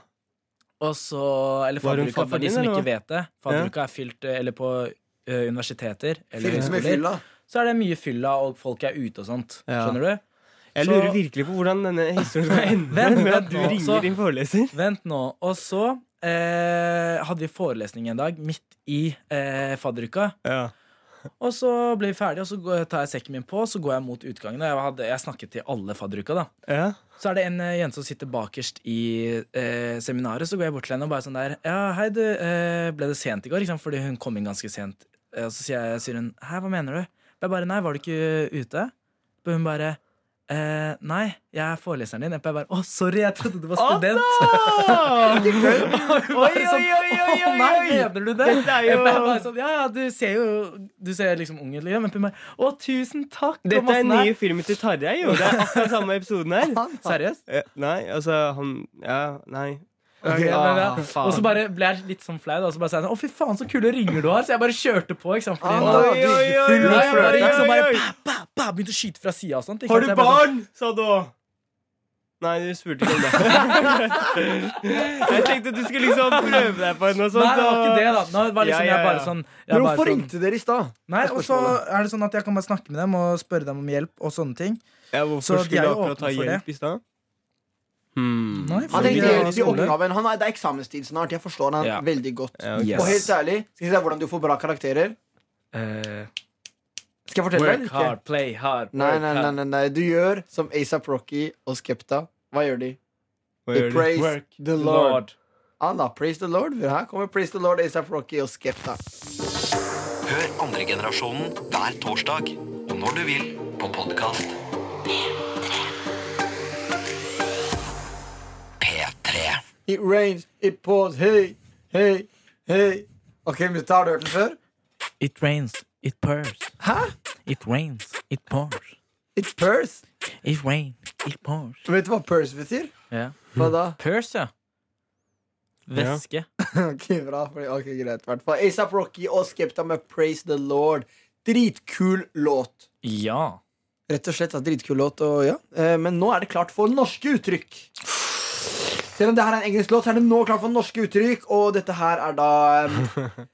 [SPEAKER 3] Og så, eller
[SPEAKER 4] Var hun
[SPEAKER 3] fadderuka, for
[SPEAKER 4] fadderen
[SPEAKER 3] de
[SPEAKER 4] din,
[SPEAKER 3] som
[SPEAKER 4] eller
[SPEAKER 3] ikke
[SPEAKER 4] hva?
[SPEAKER 3] vet det. Fadderuka er fylt, eh, eller på eh, universiteter, eller
[SPEAKER 2] Film som i
[SPEAKER 3] høyskoler,
[SPEAKER 2] fylla.
[SPEAKER 3] så er det mye fylla, og folk er ute og sånt.
[SPEAKER 4] Ja.
[SPEAKER 3] Skjønner du?
[SPEAKER 4] Jeg
[SPEAKER 3] Så-
[SPEAKER 4] lurer virkelig på hvordan denne historien skal ende
[SPEAKER 3] Vent,
[SPEAKER 4] med
[SPEAKER 3] vent
[SPEAKER 4] at du
[SPEAKER 3] nå,
[SPEAKER 4] ringer
[SPEAKER 3] så-
[SPEAKER 4] din foreleser.
[SPEAKER 3] Vent nå. Og så eh, hadde vi forelesning en dag midt i eh, fadderuka.
[SPEAKER 4] Ja.
[SPEAKER 3] Og så ble vi ferdige, og så går- tar jeg sekken min på, og så går jeg mot utgangen. Og jeg, hadde, jeg snakket til alle fadderuka, da.
[SPEAKER 4] Ja.
[SPEAKER 3] Så er det en eh, jente som sitter bakerst i eh, seminaret, så går jeg bort til henne og bare sånn der Ja, hei, du, eh, ble det sent i går? Ikke sant? Fordi hun kom inn ganske sent. Eh, Og så sier, jeg, sier hun Hei, hva mener du? Jeg bare Nei, var du ikke ute? Og hun bare eh, Nei, jeg er foreleseren din. Jeg bare Å, sorry, jeg trodde du var student.
[SPEAKER 4] Oi, oi, oi, oi, oi,
[SPEAKER 3] liksom, Å nei,
[SPEAKER 4] oi!
[SPEAKER 3] mener du det?
[SPEAKER 4] Dette er jo
[SPEAKER 3] Jeg ble bare sånn, ja, ja, du ser jo Du ser liksom ung ut, liksom. Men hun bare Å, tusen takk. og
[SPEAKER 4] Dette er
[SPEAKER 3] masse nei.
[SPEAKER 4] nye filmen til Tarjei, jo. Det er akkurat samme episoden her.
[SPEAKER 3] Seriøst?
[SPEAKER 4] Eh, Nei, altså han Ja, nei.
[SPEAKER 2] Ok,
[SPEAKER 3] Ja, ja, ja.
[SPEAKER 4] faen.
[SPEAKER 3] Og så bare ble jeg litt sånn flau, da, og så bare sa jeg sånn Å, fy faen, så kule ringer du har. Så jeg bare kjørte på, ikke sant. Fordi
[SPEAKER 2] Ah,
[SPEAKER 3] nå,
[SPEAKER 2] oi,
[SPEAKER 4] oi, oi, oi,
[SPEAKER 3] Nei, jeg bare,
[SPEAKER 4] oi,
[SPEAKER 3] gikk sånn,
[SPEAKER 4] oi,
[SPEAKER 3] bare
[SPEAKER 4] oi.
[SPEAKER 3] ba, ba, ba, begynte å skyte fra sida og sånt. ikke
[SPEAKER 4] Har du
[SPEAKER 3] sant? Så jeg bare sånn,
[SPEAKER 4] barn? sa du òg. Nei, du spurte ikke om det. Jeg tenkte du skulle liksom prøve deg på noe sånt.
[SPEAKER 3] Nei, det var ikke det,
[SPEAKER 4] og-
[SPEAKER 3] da. Nå var liksom
[SPEAKER 4] Ja, ja,
[SPEAKER 3] jeg bare
[SPEAKER 4] ja.
[SPEAKER 3] sånn jeg
[SPEAKER 2] Men
[SPEAKER 3] bare
[SPEAKER 2] hvorfor
[SPEAKER 3] sånn-
[SPEAKER 2] ringte dere i stad?
[SPEAKER 3] Nei, og så er det sånn at jeg kan bare snakke med dem og spørre dem om hjelp og sånne ting.
[SPEAKER 4] Ja,
[SPEAKER 3] Så
[SPEAKER 4] hvorfor
[SPEAKER 3] de er
[SPEAKER 4] skulle du
[SPEAKER 3] jo
[SPEAKER 4] akkurat ta
[SPEAKER 3] åpne for det.
[SPEAKER 4] hjelp i stad? Hmm.
[SPEAKER 5] Nei,
[SPEAKER 2] Han
[SPEAKER 5] fordi
[SPEAKER 2] tenkte
[SPEAKER 5] jeg
[SPEAKER 2] helt
[SPEAKER 5] var
[SPEAKER 2] i
[SPEAKER 5] skole.
[SPEAKER 2] oppgaven. Han er, det er eksamenstid snart. Jeg forstår han
[SPEAKER 3] Ja.
[SPEAKER 2] veldig godt.
[SPEAKER 4] Ja,
[SPEAKER 3] Yes.
[SPEAKER 2] Og helt ærlig, skal jeg si deg hvordan du får bra karakterer?
[SPEAKER 4] eh,
[SPEAKER 2] Skal jeg fortelle deg?
[SPEAKER 3] Work
[SPEAKER 2] eller ikke?
[SPEAKER 3] hard, play hard.
[SPEAKER 2] Nei,
[SPEAKER 3] work
[SPEAKER 2] nei, nei,
[SPEAKER 3] hard.
[SPEAKER 2] nei, nei. Du gjør som ASAP Rocky og Skepta. Hva gjør de?
[SPEAKER 4] hva
[SPEAKER 2] They
[SPEAKER 4] gjør de?
[SPEAKER 2] praise
[SPEAKER 3] Work
[SPEAKER 2] the Lord.
[SPEAKER 3] Lord.
[SPEAKER 2] Allah, praise the Lord. Her kommer Praise the Lord, ASAP Rocky og Skepta.
[SPEAKER 1] Hør andre generasjonen hver torsdag og når du vil på podkast. P3.
[SPEAKER 2] It rains, it pours, hei, hei, hei. Ok, men har du hørt den før?
[SPEAKER 5] It rains, it pours.
[SPEAKER 2] Hæ?
[SPEAKER 5] It rains, it pours.
[SPEAKER 2] It's purse.
[SPEAKER 5] It rains, it pours.
[SPEAKER 2] Vet du hva purse betyr?
[SPEAKER 5] Ja.
[SPEAKER 2] Hva da?
[SPEAKER 5] Purse, ja. Væske.
[SPEAKER 2] Ok, bra. fordi- Ok, greit. Hvert fall ASAP Rocky og Skepta med Praise the Lord. Dritkul låt.
[SPEAKER 5] Ja.
[SPEAKER 2] Rett og slett, ja, dritkul låt og ja. Eh, Men nå er det klart for norske uttrykk. Selv om det her er en engelsk låt, så er det nå klart for norske uttrykk. Og dette her er da eh,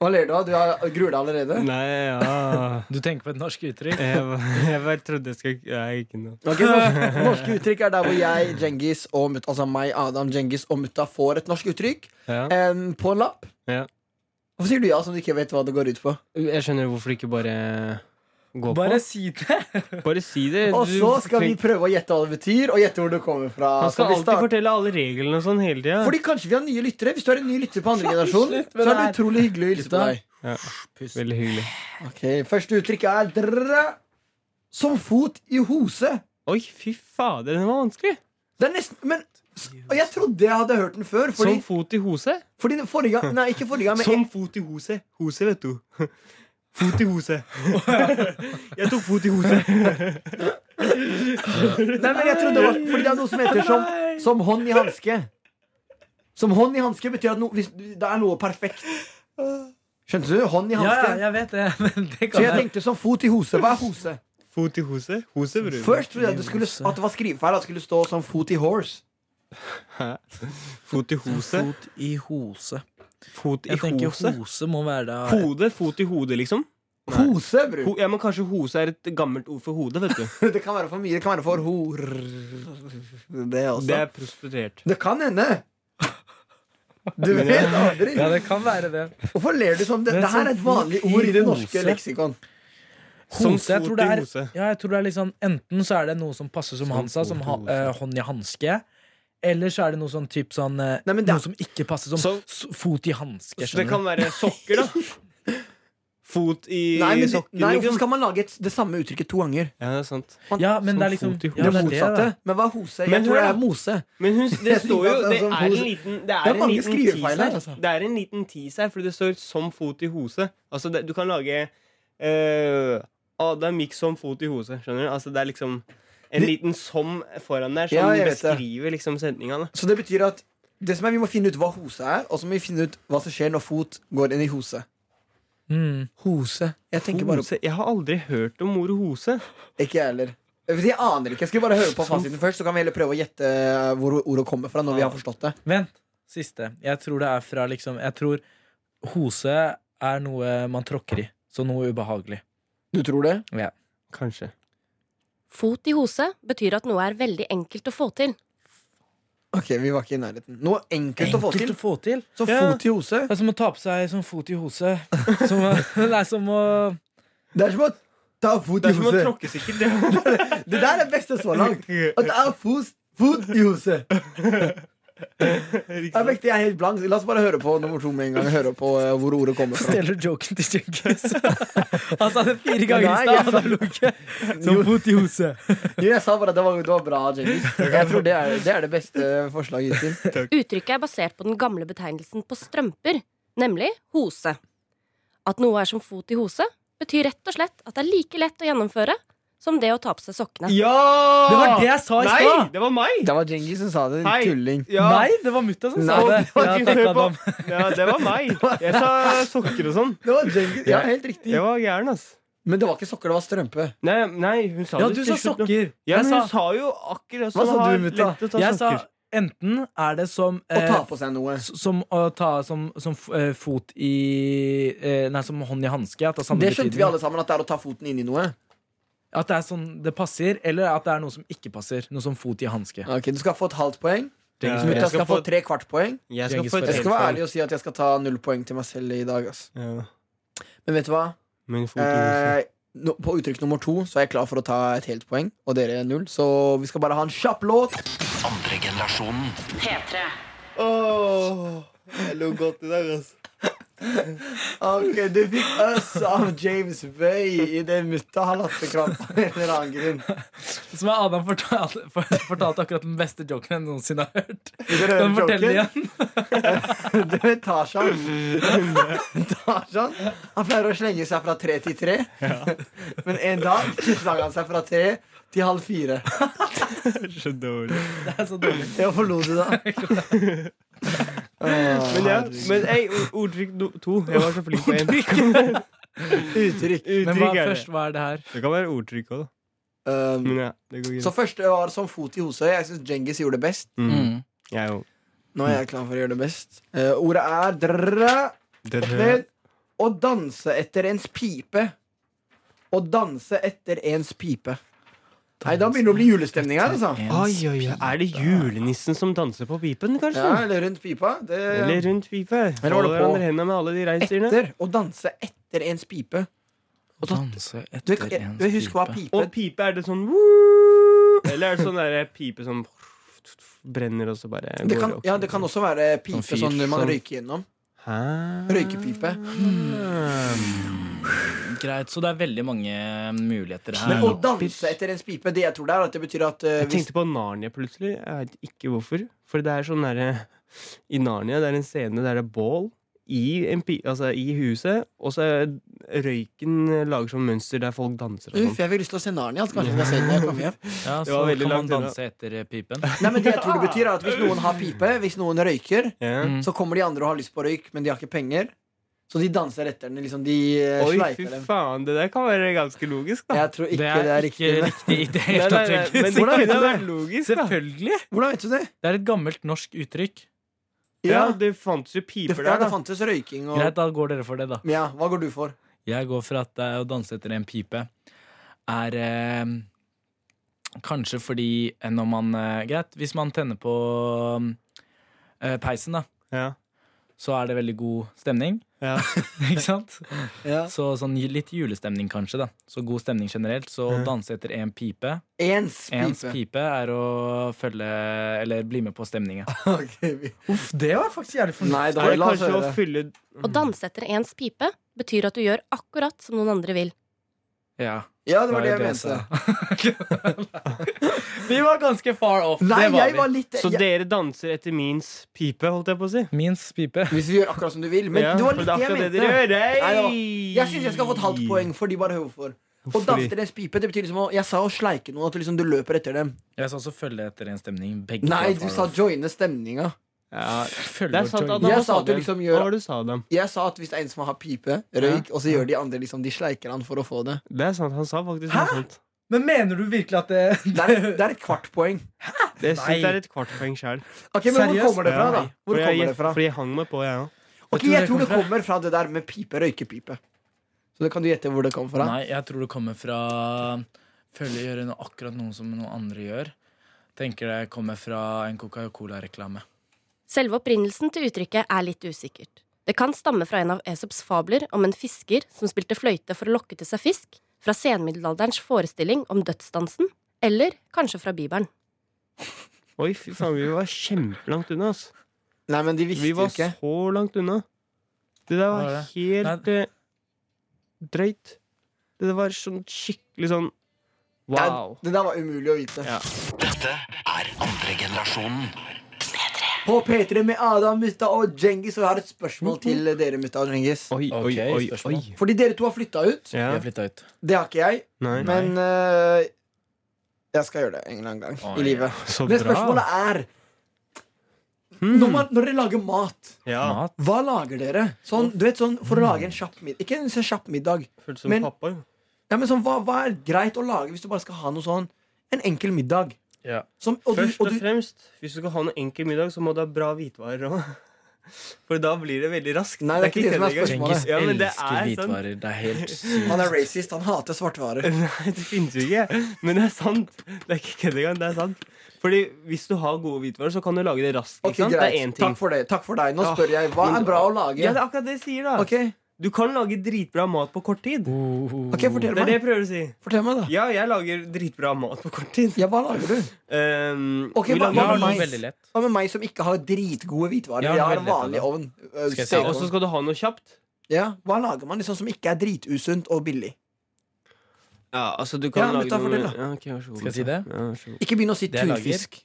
[SPEAKER 2] Hva ler du av? Du har- gruer deg allerede?
[SPEAKER 4] Nei, ja
[SPEAKER 3] Du tenker på et norsk uttrykk?
[SPEAKER 4] Jeg, ba- jeg bare trodde jeg skulle Nei, ikke noe.
[SPEAKER 2] Ok, norske, norske uttrykk er der hvor jeg, Djengis og Mutta, altså meg, Adam, Djengis og Mutta får et norsk uttrykk
[SPEAKER 4] Ja.
[SPEAKER 2] em, på en lapp.
[SPEAKER 4] Ja.
[SPEAKER 2] Hvorfor sier du ja som du ikke vet hva det går ut på?
[SPEAKER 4] Jeg skjønner hvorfor ikke bare gå
[SPEAKER 3] Bare
[SPEAKER 4] på.
[SPEAKER 3] si det!
[SPEAKER 4] Bare si det.
[SPEAKER 2] Og
[SPEAKER 4] Du
[SPEAKER 2] så skal vi
[SPEAKER 4] trenger-
[SPEAKER 2] prøve å gjette hva det betyr, og gjette hvor det kommer fra.
[SPEAKER 4] Man
[SPEAKER 2] Så
[SPEAKER 4] skal
[SPEAKER 2] vi
[SPEAKER 4] alltid
[SPEAKER 2] starter-
[SPEAKER 4] fortelle alle reglene og sånn hele tida.
[SPEAKER 2] Fordi kanskje vi har nye lyttere. Hvis du er en ny lytter på andre generasjon,
[SPEAKER 3] slutt
[SPEAKER 2] så er det
[SPEAKER 3] med det her.
[SPEAKER 2] utrolig hyggelig å hilse på
[SPEAKER 3] Gutta.
[SPEAKER 2] deg.
[SPEAKER 4] Veldig hyggelig.
[SPEAKER 2] Ok, Første uttrykk er drrrr, som fot i hose.
[SPEAKER 4] Oi, fy fader, den var vanskelig.
[SPEAKER 2] Det er nesten Men s- og jeg trodde jeg hadde hørt den før. Fordi,
[SPEAKER 4] Som fot i hose.
[SPEAKER 2] fordi den forrige gang Nei, ikke forrige gang, men
[SPEAKER 4] Som fot i hose. Hose, vet du. Fot i hose. jeg tok fot i hose.
[SPEAKER 2] Nei, men jeg trodde det var Fordi det er noe som heter som, som hånd i hanske. Som hånd i hanske betyr at no, hvis, det er noe perfekt. Skjønte du? Hånd i
[SPEAKER 3] Ja,
[SPEAKER 2] hanske.
[SPEAKER 3] ja, jeg vet det. Men det
[SPEAKER 2] Så
[SPEAKER 3] kan
[SPEAKER 2] jeg
[SPEAKER 3] jeg
[SPEAKER 2] tenkte som fot i hose. Hva er hose?
[SPEAKER 4] Fot i hose. Hose, bror.
[SPEAKER 2] Først trodde jeg det skulle, at det var skrivefeil. At det skulle stå som fot i horse.
[SPEAKER 4] Fot i hose.
[SPEAKER 5] Fot i hose.
[SPEAKER 4] Fot i
[SPEAKER 5] Jeg tenker
[SPEAKER 4] hose.
[SPEAKER 5] hose må være da
[SPEAKER 4] Hode. Fot i hode, liksom.
[SPEAKER 2] Hose, bror.
[SPEAKER 4] Ho ja, men Kanskje hose er et gammelt ord for hode, vet du.
[SPEAKER 2] Det kan være for mye. Det kan være for hor... Det også.
[SPEAKER 4] Det
[SPEAKER 2] Det,
[SPEAKER 4] er prostituert.
[SPEAKER 2] kan hende. Du vet aldri.
[SPEAKER 3] Ja, det kan være det.
[SPEAKER 2] Hvorfor ler du sånn? Det,
[SPEAKER 5] Men
[SPEAKER 2] det her er et
[SPEAKER 5] sånn
[SPEAKER 2] vanlig
[SPEAKER 5] i
[SPEAKER 2] ord i det
[SPEAKER 5] hose.
[SPEAKER 2] norske leksikon.
[SPEAKER 4] Som
[SPEAKER 5] Hose, jeg
[SPEAKER 4] fot
[SPEAKER 5] tror det
[SPEAKER 4] i
[SPEAKER 5] er,
[SPEAKER 4] hose.
[SPEAKER 5] ja, jeg tror det er litt sånn Enten så er det noe som passer som
[SPEAKER 4] Som
[SPEAKER 5] han sa,
[SPEAKER 4] fot
[SPEAKER 5] som
[SPEAKER 4] i
[SPEAKER 5] ha,
[SPEAKER 4] hose.
[SPEAKER 5] eh, hånd i hanske. Eller så er det noe sånn typ sånn eh,
[SPEAKER 2] Nei, men det er-
[SPEAKER 5] Noe som ikke passer, som
[SPEAKER 4] Sånn.
[SPEAKER 5] s- fot i hanske.
[SPEAKER 4] Så det
[SPEAKER 5] skjønner
[SPEAKER 4] kan
[SPEAKER 5] du?
[SPEAKER 4] være sokker, da. Fot i
[SPEAKER 2] Nei, men, du-
[SPEAKER 4] sokken.
[SPEAKER 2] nei,
[SPEAKER 4] liksom.
[SPEAKER 2] hvorfor skal man lage et, det samme uttrykket to ganger?
[SPEAKER 4] Ja, det er sant.
[SPEAKER 5] Ja, men
[SPEAKER 4] Som
[SPEAKER 5] det er liksom
[SPEAKER 4] fot i
[SPEAKER 5] ja,
[SPEAKER 2] det
[SPEAKER 5] det er det,
[SPEAKER 2] motsatte.
[SPEAKER 5] da.
[SPEAKER 2] men hva er hose?
[SPEAKER 4] Men
[SPEAKER 2] Jeg tror
[SPEAKER 4] hør
[SPEAKER 2] det
[SPEAKER 4] da.
[SPEAKER 2] er mose.
[SPEAKER 4] Men hun, det står jo Det er en liten Det
[SPEAKER 2] sånn
[SPEAKER 4] er,
[SPEAKER 2] Det er
[SPEAKER 4] en
[SPEAKER 2] mange
[SPEAKER 4] liten
[SPEAKER 2] skrivefeil
[SPEAKER 4] tease
[SPEAKER 2] her, altså.
[SPEAKER 4] Det er en liten tease her, for det står 'som fot i hose'. Altså, det, du kan lage eh, Adam gikk som fot i hose. Skjønner du? Altså, det er liksom en liten 'som' foran der, som
[SPEAKER 2] Ja, jeg vet det.
[SPEAKER 4] beskriver liksom sendinga. da.
[SPEAKER 2] Så det betyr at det som er, vi må finne ut hva hose er, og så må vi finne ut hva som skjer når fot går inn i hose.
[SPEAKER 5] Mm.
[SPEAKER 2] Hose. Jeg tenker bare
[SPEAKER 4] Hose. Jeg har aldri hørt om ordet hose.
[SPEAKER 2] Ikke jeg heller. Fordi Jeg aner ikke. Jeg skulle bare høre på fasiten først, så kan vi heller prøve å gjette eh, hvor ordet kommer fra. Når vi har forstått det
[SPEAKER 5] Vent. Siste. Jeg tror det er fra liksom Jeg tror hose er noe man tråkker i. Så noe ubehagelig.
[SPEAKER 2] Du tror det?
[SPEAKER 4] Kanskje.
[SPEAKER 6] Fot i hose betyr at noe er veldig enkelt å få til.
[SPEAKER 2] Ok, vi var ikke i nærheten. Noe enkelt, å få til.
[SPEAKER 5] Enkelt å få til.
[SPEAKER 2] Så
[SPEAKER 4] Ja.
[SPEAKER 2] fot i hose.
[SPEAKER 5] Det er som å ta på seg som fot i hose. Som, det er som å
[SPEAKER 2] Det er som å ta fot
[SPEAKER 4] Det
[SPEAKER 2] i
[SPEAKER 4] er som å
[SPEAKER 2] hose.
[SPEAKER 4] tråkke sikkert. det.
[SPEAKER 2] Det der er det beste så langt. At det er fos, fot i hose. Jeg vet ikke, jeg er helt blank. La oss bare høre på nummer to med en gang. Høre på eh, hvor ordet kommer fra.
[SPEAKER 5] Stjeler joken til Jenkins. Han sa det fire ganger i
[SPEAKER 2] Nei, jeg
[SPEAKER 5] stad, og
[SPEAKER 2] sa-
[SPEAKER 5] da lo ikke. Som fot i hose.
[SPEAKER 2] Jo, jeg sa bare at det var, det var bra, Jenkins. Jeg tror det er det, er det beste forslaget hittil.
[SPEAKER 6] Uttrykket er basert på den gamle betegnelsen på strømper, nemlig hose. At noe er som fot i hose, betyr rett og slett at det er like lett å gjennomføre som det å ta på seg sokkene.
[SPEAKER 4] Ja!
[SPEAKER 5] Det var det jeg sa i
[SPEAKER 4] Nei,
[SPEAKER 5] stad!
[SPEAKER 4] det var meg!
[SPEAKER 2] Det var Djengis som sa det, din
[SPEAKER 4] Hei.
[SPEAKER 2] tulling.
[SPEAKER 4] Ja.
[SPEAKER 5] Nei, det var mutta som sa
[SPEAKER 2] Nei,
[SPEAKER 5] det.
[SPEAKER 4] det var
[SPEAKER 5] Ja,
[SPEAKER 4] ikke-
[SPEAKER 5] takk,
[SPEAKER 4] hør på.
[SPEAKER 5] Adam.
[SPEAKER 4] Ja, det var meg. Jeg sa sokker og sånn.
[SPEAKER 2] Det var Djengis, ja, helt riktig.
[SPEAKER 4] Jeg var gæren, ass.
[SPEAKER 2] Men det var ikke sokker, det var strømpe.
[SPEAKER 4] Nei, nei, hun sa
[SPEAKER 5] Ja,
[SPEAKER 4] det
[SPEAKER 5] du
[SPEAKER 4] til
[SPEAKER 5] sa
[SPEAKER 4] slutt nå.
[SPEAKER 5] sokker.
[SPEAKER 4] Ja,
[SPEAKER 5] Jeg
[SPEAKER 4] men hun
[SPEAKER 5] sa,
[SPEAKER 4] sa jo akkurat
[SPEAKER 2] Hva
[SPEAKER 4] sånn.
[SPEAKER 2] sa
[SPEAKER 4] har
[SPEAKER 2] du, Mutta?
[SPEAKER 4] lett å ta
[SPEAKER 5] jeg sa
[SPEAKER 4] sokker.
[SPEAKER 5] enten er det som
[SPEAKER 2] Å ta
[SPEAKER 5] eh,
[SPEAKER 2] på seg noe.
[SPEAKER 5] s- Som å ta som, som f- eh, fot i eh, Nei, som hånd i hanske. at det er samme
[SPEAKER 2] Det skjønte
[SPEAKER 5] betydning.
[SPEAKER 2] vi alle sammen, at det er å ta foten inn i noe.
[SPEAKER 3] At det er sånn det passer, eller at det er noe som ikke passer. Noe som fot i hanske.
[SPEAKER 2] Ok, Du skal få et halvt poeng.
[SPEAKER 4] Ja.
[SPEAKER 2] Mutta
[SPEAKER 4] Jeg
[SPEAKER 2] skal,
[SPEAKER 4] skal
[SPEAKER 2] få
[SPEAKER 4] få-
[SPEAKER 2] tre kvart poeng.
[SPEAKER 4] Jeg skal
[SPEAKER 3] Genghis
[SPEAKER 4] få et
[SPEAKER 3] Farah.
[SPEAKER 2] Jeg skal være
[SPEAKER 4] helt
[SPEAKER 2] ærlig og si at jeg skal ta null poeng til meg selv i dag. Ass.
[SPEAKER 4] poeng. Ja.
[SPEAKER 2] Men vet du hva?
[SPEAKER 4] Min fot i huset.
[SPEAKER 2] Eh, no, på uttrykk nummer to så er jeg klar for å ta et helt poeng, og dere null. Så vi skal bare ha en kjapp låt.
[SPEAKER 1] Andre generasjonen.
[SPEAKER 7] P3.
[SPEAKER 4] Jeg lå godt i dag, altså.
[SPEAKER 2] Ok, Du fikk Us av James Bay i det mutta har latterkrampe av en eller annen grunn.
[SPEAKER 3] Som er Adam fortalte for, fortalte akkurat den beste joken jeg noensinne har hørt.
[SPEAKER 2] Vil dere høre
[SPEAKER 3] Kan du fortelle det
[SPEAKER 2] Eh, joken?
[SPEAKER 3] igjen?
[SPEAKER 2] Du vet Tarzan? Tarzan han pleier å slenge seg fra tre til tre. Men en dag så slang han seg fra tre til halv fire.
[SPEAKER 4] Så dårlig.
[SPEAKER 3] Det er så dårlig.
[SPEAKER 2] Ja, forlot du da?
[SPEAKER 4] Men ja, men ei, ord- ordtrykk no- to. Jeg var så flink på én.
[SPEAKER 2] Uttrykk.
[SPEAKER 4] Uttrykk er
[SPEAKER 3] Men hva er
[SPEAKER 4] det.
[SPEAKER 3] først? Hva er det her?
[SPEAKER 4] Det kan være ordtrykk òg, da.
[SPEAKER 2] Um,
[SPEAKER 4] Men ja, det går
[SPEAKER 2] så
[SPEAKER 4] greit.
[SPEAKER 2] første var som fot i hoset. Jeg syns Djengis gjorde det best.
[SPEAKER 4] Mm. Jeg òg.
[SPEAKER 2] Nå er jeg klar for å gjøre det best. Eh, ordet er drrrra,
[SPEAKER 4] Det
[SPEAKER 2] opp ned. Å danse etter ens pipe. Å danse etter ens pipe. Nei, da begynner det å bli julestemning her, altså.
[SPEAKER 4] Oi, oi, oi. Er det julenissen som danser på pipen, kanskje?
[SPEAKER 2] Ja, eller rundt pipa. Det,
[SPEAKER 4] Eller rundt pipa?
[SPEAKER 2] Eller var det
[SPEAKER 4] Holder
[SPEAKER 2] på?
[SPEAKER 4] hverandre hendene med alle de reinsdyrene?
[SPEAKER 2] etter. Å danse etter ens pipe.
[SPEAKER 3] Danse
[SPEAKER 2] Du,
[SPEAKER 3] etter
[SPEAKER 2] jeg,
[SPEAKER 3] ens
[SPEAKER 2] jeg husker hva
[SPEAKER 3] pipe.
[SPEAKER 2] pipe
[SPEAKER 4] Og pipe, er det sånn Eller er det sånn der pipe som brenner, og så bare
[SPEAKER 2] det kan,
[SPEAKER 4] opp?
[SPEAKER 2] ja, det kan også være pipe
[SPEAKER 3] Sånn fyr
[SPEAKER 2] sånn man
[SPEAKER 3] som-
[SPEAKER 2] røyker gjennom.
[SPEAKER 4] Hæ?
[SPEAKER 2] Røykepipe.
[SPEAKER 3] Greit, så det er veldig mange um, muligheter her.
[SPEAKER 2] Men å danse etter ens pipe, det jeg tror det er, at det betyr at eh,
[SPEAKER 4] Jeg
[SPEAKER 2] hvis
[SPEAKER 4] tenkte på Narnia plutselig. Jeg vet ikke hvorfor. For det er sånn derre I Narnia det er en scene der det er bål i, en pi, altså, i huset, og så er røyken lager sånn mønster der folk danser og
[SPEAKER 2] Uff,
[SPEAKER 4] sånn.
[SPEAKER 2] jeg fikk lyst til å se Narnia. altså, Kanskje jeg skal se den når jeg kommer hjem.
[SPEAKER 3] ja,
[SPEAKER 4] Det
[SPEAKER 3] så
[SPEAKER 4] var veldig
[SPEAKER 3] kan man
[SPEAKER 4] langt unna.
[SPEAKER 3] danse etter eh, pipen.
[SPEAKER 2] Nei, men det jeg tror det betyr er at Hvis noen har pipe, hvis noen røyker,
[SPEAKER 4] Ja.
[SPEAKER 3] Mm.
[SPEAKER 2] så kommer de andre og har lyst på røyk, men de har ikke penger. Så de danser etter den. Liksom, de eh,
[SPEAKER 4] Oi, fy
[SPEAKER 2] sleiper dem.
[SPEAKER 4] faen. Det der kan være ganske logisk, da.
[SPEAKER 2] Jeg tror ikke det er, riktig.
[SPEAKER 3] ikke riktig i det hele tatt.
[SPEAKER 4] men
[SPEAKER 3] Jørgen.
[SPEAKER 4] det
[SPEAKER 2] Hvordan vet
[SPEAKER 4] kunne
[SPEAKER 2] du
[SPEAKER 4] vært logisk, da.
[SPEAKER 3] Selvfølgelig!
[SPEAKER 2] Hvordan vet du det?
[SPEAKER 3] Det er et gammelt norsk uttrykk.
[SPEAKER 4] Ja,
[SPEAKER 2] Ja,
[SPEAKER 4] det fantes jo
[SPEAKER 2] det,
[SPEAKER 4] piper
[SPEAKER 2] ja,
[SPEAKER 4] der,
[SPEAKER 2] det
[SPEAKER 4] da.
[SPEAKER 2] fantes røyking og
[SPEAKER 3] Greit, da går dere for det, da.
[SPEAKER 2] Ja, hva går du for?
[SPEAKER 3] Jeg går for at det er å danse etter en pipe er eh, Kanskje fordi eh, når man eh, Greit, hvis man tenner på um, eh, peisen, da,
[SPEAKER 4] Ja.
[SPEAKER 3] så er det veldig god stemning.
[SPEAKER 4] Ja.
[SPEAKER 3] Ikke sant?
[SPEAKER 2] Ja.
[SPEAKER 3] Så sånn ju- litt julestemning, kanskje. da Så god stemning generelt. Så å
[SPEAKER 4] Ja.
[SPEAKER 3] danse etter én pipe
[SPEAKER 2] Ens
[SPEAKER 3] Ens
[SPEAKER 2] pipe.
[SPEAKER 3] pipe er å følge Eller bli med på stemninga.
[SPEAKER 2] Ok, vi-
[SPEAKER 3] Uff, det var faktisk jævlig
[SPEAKER 2] Nei, da
[SPEAKER 4] Er det
[SPEAKER 2] la oss
[SPEAKER 4] kanskje å
[SPEAKER 2] høre.
[SPEAKER 4] fylle
[SPEAKER 6] Å danse etter ens pipe betyr at du gjør akkurat som noen andre vil.
[SPEAKER 3] Ja,
[SPEAKER 2] Ja, det var det jeg
[SPEAKER 3] var jo
[SPEAKER 2] mente.
[SPEAKER 3] jeg sa. Vi var ganske far off.
[SPEAKER 2] Nei,
[SPEAKER 3] det var
[SPEAKER 2] jeg
[SPEAKER 3] vi.
[SPEAKER 2] var litt
[SPEAKER 4] Så
[SPEAKER 2] jeg,
[SPEAKER 4] dere danser etter mins pipe, holdt jeg på å si?
[SPEAKER 3] Mins pipe.
[SPEAKER 2] Hvis du gjør akkurat som du vil. Men
[SPEAKER 4] Ja,
[SPEAKER 2] det var
[SPEAKER 4] for
[SPEAKER 2] litt det
[SPEAKER 4] det er
[SPEAKER 2] jeg
[SPEAKER 4] akkurat
[SPEAKER 2] mente.
[SPEAKER 4] det dere gjør.
[SPEAKER 2] Nei, det var-
[SPEAKER 4] Hei!
[SPEAKER 2] Jeg syns jeg skal få et halvt poeng, fordi bare hør hvorfor. Å danse etter ens pipe, det betyr liksom å Jeg sa å sleike noen, at du liksom du løper etter dem.
[SPEAKER 3] Jeg sa også følge etter en stemning. Begge
[SPEAKER 2] Nei,
[SPEAKER 3] var
[SPEAKER 2] du
[SPEAKER 3] far
[SPEAKER 2] sa
[SPEAKER 3] off.
[SPEAKER 2] joine stemninga.
[SPEAKER 4] Ja,
[SPEAKER 3] Følge
[SPEAKER 4] det er
[SPEAKER 3] og
[SPEAKER 4] sant,
[SPEAKER 3] join.
[SPEAKER 4] Adam.
[SPEAKER 2] Jeg
[SPEAKER 4] Hva
[SPEAKER 2] sa at du
[SPEAKER 4] de?
[SPEAKER 2] liksom gjør-
[SPEAKER 4] Hva var det du sa, Adam?
[SPEAKER 2] Jeg sa at hvis det er en som har pipe, røyk, og så gjør de andre liksom De sleiker han for å få det.
[SPEAKER 4] Det er sant, han sa faktisk noe sånt.
[SPEAKER 3] Men mener du virkelig at det
[SPEAKER 2] Det er, det er et kvartpoeng.
[SPEAKER 4] Det synes
[SPEAKER 3] Nei.
[SPEAKER 4] jeg er et kvartpoeng sjøl.
[SPEAKER 2] Ok, men
[SPEAKER 3] Seriøst?
[SPEAKER 2] Hvor kommer det fra, da? Hvor
[SPEAKER 4] Fordi,
[SPEAKER 2] kommer
[SPEAKER 4] jeg-
[SPEAKER 2] det fra?
[SPEAKER 4] fordi jeg hang meg på, jeg òg.
[SPEAKER 2] Ok, Jeg tror det kommer fra det der med pipe, røykepipe. Så det kan du gjette hvor det kommer fra.
[SPEAKER 3] Nei, jeg tror det kommer fra følge gjøre noe, akkurat noe som noen andre gjør. Tenker det kommer fra en Coca-Cola-reklame.
[SPEAKER 6] Selve opprinnelsen til uttrykket er litt usikkert. Det kan stamme fra en av Esops fabler om en fisker som spilte fløyte for å lokke til seg fisk, fra senmiddelalderens forestilling om dødsdansen, eller kanskje fra Bibelen.
[SPEAKER 4] Oi, fy faen, vi var kjempelangt unna, ass.
[SPEAKER 2] Nei, men de visste
[SPEAKER 4] Vi
[SPEAKER 2] jo
[SPEAKER 4] var
[SPEAKER 2] ikke.
[SPEAKER 4] så langt unna. Det der
[SPEAKER 3] Hva
[SPEAKER 4] var
[SPEAKER 3] var
[SPEAKER 4] helt eh, drøyt. Det der var sånn skikkelig sånn Wow.
[SPEAKER 2] Det der var umulig å vite.
[SPEAKER 4] Ja.
[SPEAKER 1] Dette er andre generasjonen.
[SPEAKER 2] På P3 med Adam, Mutta og Djengis, og jeg har et
[SPEAKER 4] Mm,
[SPEAKER 2] spørsmål til dere, Mutta og Djengis.
[SPEAKER 4] Oi, oi,
[SPEAKER 3] Ok,
[SPEAKER 4] oi.
[SPEAKER 3] spørsmål.
[SPEAKER 4] oi.
[SPEAKER 2] Fordi dere to har flytta ut.
[SPEAKER 4] Ja.
[SPEAKER 3] Jeg flytta ut.
[SPEAKER 2] Det har ikke jeg.
[SPEAKER 4] Nei.
[SPEAKER 2] Men øh, jeg skal gjøre det en eller annen gang
[SPEAKER 3] Oi.
[SPEAKER 2] i livet.
[SPEAKER 4] Så
[SPEAKER 2] Men
[SPEAKER 4] bra.
[SPEAKER 2] spørsmålet er
[SPEAKER 4] Hmm.
[SPEAKER 2] når, man, når dere lager mat,
[SPEAKER 4] Ja,
[SPEAKER 3] Mat.
[SPEAKER 2] hva lager dere? Sånn, du vet, sånn, for å lage en kjapp middag. Ikke en sånn kjapp middag.
[SPEAKER 4] føltes som
[SPEAKER 2] Men-
[SPEAKER 4] pappa, jo.
[SPEAKER 2] Ja, men sånn, hva, hva er greit å lage hvis du bare skal ha noe sånn En enkel middag.
[SPEAKER 3] Ja.
[SPEAKER 2] Som, og du,
[SPEAKER 4] Først
[SPEAKER 2] og
[SPEAKER 4] og
[SPEAKER 2] du,
[SPEAKER 4] fremst, hvis du skal ha noe enkel middag, så må du ha bra hvitvarer òg. For da blir det veldig raskt.
[SPEAKER 2] Nei, det er ikke det som er spørsmålet.
[SPEAKER 4] kjenninger.
[SPEAKER 3] Cengiz
[SPEAKER 4] Ja, men det
[SPEAKER 3] elsker
[SPEAKER 4] er sånn-
[SPEAKER 3] hvitvarer. Det er helt sykt.
[SPEAKER 2] Han er racist. Han hater svartvarer.
[SPEAKER 4] Nei, det finnes jo ikke. Men det er sant. Det er ikke kødd engang. Det er sant. Fordi hvis du har gode hvitvarer, så kan du lage det raskt.
[SPEAKER 2] Ok,
[SPEAKER 4] ikke sant? Det er én
[SPEAKER 2] greit.
[SPEAKER 4] ting.
[SPEAKER 2] Takk for det. Takk for deg. Nå
[SPEAKER 4] Ah,
[SPEAKER 2] spør jeg. Hva
[SPEAKER 4] men-
[SPEAKER 2] er bra å
[SPEAKER 4] Ja, det
[SPEAKER 2] lage?
[SPEAKER 4] er akkurat det jeg sier, da.
[SPEAKER 2] Ok,
[SPEAKER 4] Du kan lage dritbra mat på kort tid.
[SPEAKER 2] ok,
[SPEAKER 4] Det
[SPEAKER 2] fortell
[SPEAKER 4] er det
[SPEAKER 2] meg.
[SPEAKER 4] jeg prøver å si.
[SPEAKER 2] Fortell meg, da.
[SPEAKER 4] Ja, jeg lager dritbra mat på kort tid.
[SPEAKER 2] Ja, hva lager du?
[SPEAKER 4] Um,
[SPEAKER 2] Ok,
[SPEAKER 4] vi
[SPEAKER 2] hva-
[SPEAKER 4] lager-
[SPEAKER 3] Jeg
[SPEAKER 2] hva
[SPEAKER 3] har
[SPEAKER 2] med
[SPEAKER 3] noe
[SPEAKER 2] meg?
[SPEAKER 3] veldig lett.
[SPEAKER 2] Hva med meg som ikke har dritgode hvitvarer?
[SPEAKER 3] Ja,
[SPEAKER 2] Jeg har en
[SPEAKER 3] veldig lett,
[SPEAKER 2] vanlig ovn. øh,
[SPEAKER 3] Skal jeg si-
[SPEAKER 2] stekeovn.
[SPEAKER 4] Og så skal du ha noe kjapt.
[SPEAKER 2] Ja, Hva lager man liksom som ikke er dritusunt og billig?
[SPEAKER 4] Ja, altså du
[SPEAKER 2] Ja,
[SPEAKER 4] kan
[SPEAKER 2] men
[SPEAKER 4] lage
[SPEAKER 2] ta
[SPEAKER 4] noe
[SPEAKER 2] fortell, da.
[SPEAKER 4] ja, ok, vær så god.
[SPEAKER 3] Skal jeg si det?
[SPEAKER 4] Ja, vær så god.
[SPEAKER 2] Ikke begynn å si
[SPEAKER 3] Det jeg lager.
[SPEAKER 2] tunfisk.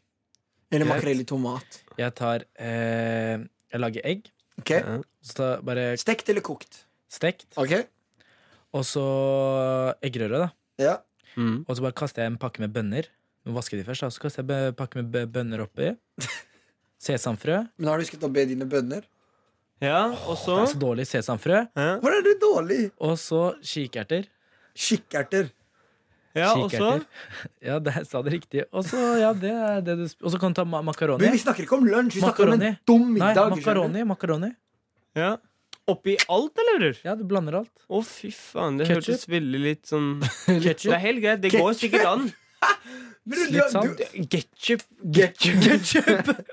[SPEAKER 2] Eller
[SPEAKER 3] Greit.
[SPEAKER 2] makrell i tomat.
[SPEAKER 3] Jeg tar eh, Jeg lager egg.
[SPEAKER 2] Ok,
[SPEAKER 4] Ja.
[SPEAKER 3] Så tar jeg bare
[SPEAKER 2] Stekt eller kokt?
[SPEAKER 3] stekt.
[SPEAKER 2] Ok,
[SPEAKER 3] Og så eggerøre, da.
[SPEAKER 2] ja
[SPEAKER 4] Mm.
[SPEAKER 3] Og så bare kaster jeg en pakke med bønner. Nå vasker jeg de først, da. Så kaster jeg en pakke med bø- bønner oppi. Sesamfrø.
[SPEAKER 2] Men har du husket å be dine bønner?
[SPEAKER 4] ja og så
[SPEAKER 3] Det er så dårlig sesamfrø.
[SPEAKER 4] ja.
[SPEAKER 2] Hvor er du dårlig?
[SPEAKER 3] Og så kikerter.
[SPEAKER 2] Kikkerter.
[SPEAKER 4] ja, og så
[SPEAKER 3] Kikerter. Ja, det sa det riktig. Og så ja, det er det du sp- Og så kan du ta ma
[SPEAKER 2] Men
[SPEAKER 3] makaroni.
[SPEAKER 2] vi snakker ikke om lunsj, vi snakker om en
[SPEAKER 3] Makaroni.
[SPEAKER 2] dum
[SPEAKER 3] Nei,
[SPEAKER 2] middag. skjønner du?
[SPEAKER 3] makaroni. makaroni
[SPEAKER 4] ja. Oppi alt, eller? bror?
[SPEAKER 3] Ja, du blander alt.
[SPEAKER 4] Å, fy faen. Det
[SPEAKER 3] Ketchup?
[SPEAKER 4] hørtes veldig litt sånn Det er
[SPEAKER 3] Ketsjup.
[SPEAKER 4] helt greit. Det går
[SPEAKER 2] Ketchup?
[SPEAKER 4] sikkert an.
[SPEAKER 2] Men du- du-
[SPEAKER 3] Litt salt.
[SPEAKER 2] du-
[SPEAKER 4] Getchup.
[SPEAKER 2] Ketchup.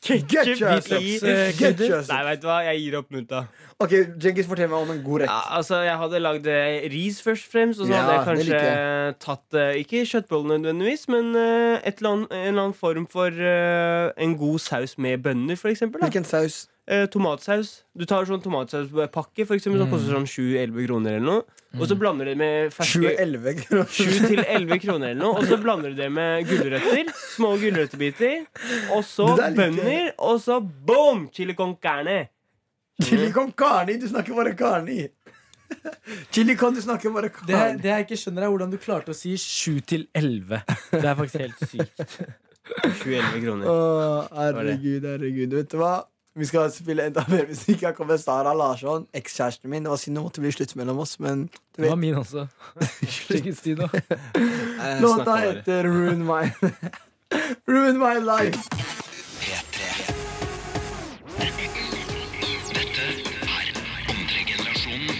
[SPEAKER 4] Ketchup
[SPEAKER 2] Ketchup.
[SPEAKER 4] i
[SPEAKER 2] Get
[SPEAKER 3] Hvitløkskrydder.
[SPEAKER 2] yourself.
[SPEAKER 4] Nei, veit du hva. Jeg gir opp munta.
[SPEAKER 2] Ok, Jenkins, fortell meg om en god
[SPEAKER 4] Ja,
[SPEAKER 2] rett.
[SPEAKER 4] altså, jeg hadde lagd eh, ris først og fremst, og så
[SPEAKER 2] Ja,
[SPEAKER 4] hadde jeg
[SPEAKER 2] det
[SPEAKER 4] kanskje tatt eh, Ikke kjøttboller nødvendigvis, men eh, et eller annet, en eller annen form for eh, en god saus med bønner, for eksempel. Da.
[SPEAKER 2] Hvilken saus?
[SPEAKER 4] Eh, tomatsaus. Du tar sånn tomatsauspakke, for eksempel, som koster sånn 7-11 kroner eller noe, og så blander du det med ferske
[SPEAKER 2] 7-11 kroner.
[SPEAKER 4] 7-11 kroner eller noe, og så blander du det med gulrøtter. Små gulrøttebiter. Og så
[SPEAKER 2] Det der liker jeg.
[SPEAKER 4] bønner, og så boom! Chili con carne.
[SPEAKER 2] Chili con carne. Du snakker bare carne. Chili con, du snakker bare
[SPEAKER 3] Det,
[SPEAKER 2] carne.
[SPEAKER 3] jeg ikke skjønner, er hvordan du klarte å si 7 til 11. Det er faktisk helt sykt.
[SPEAKER 4] 7-11 kroner.
[SPEAKER 2] Å, herregud, herregud. Vet du hva? Vi skal spille enda mer musikk. Her kommer Sara Larsson, ekskjæresten min. Det var synd det måtte bli slutt mellom oss, men du
[SPEAKER 3] Det
[SPEAKER 2] vet
[SPEAKER 3] var min også. Skikkelig stil, da.
[SPEAKER 2] Eh, Låta heter Ruin My Ruin My Life.
[SPEAKER 1] P3. Dette er andre generasjonen.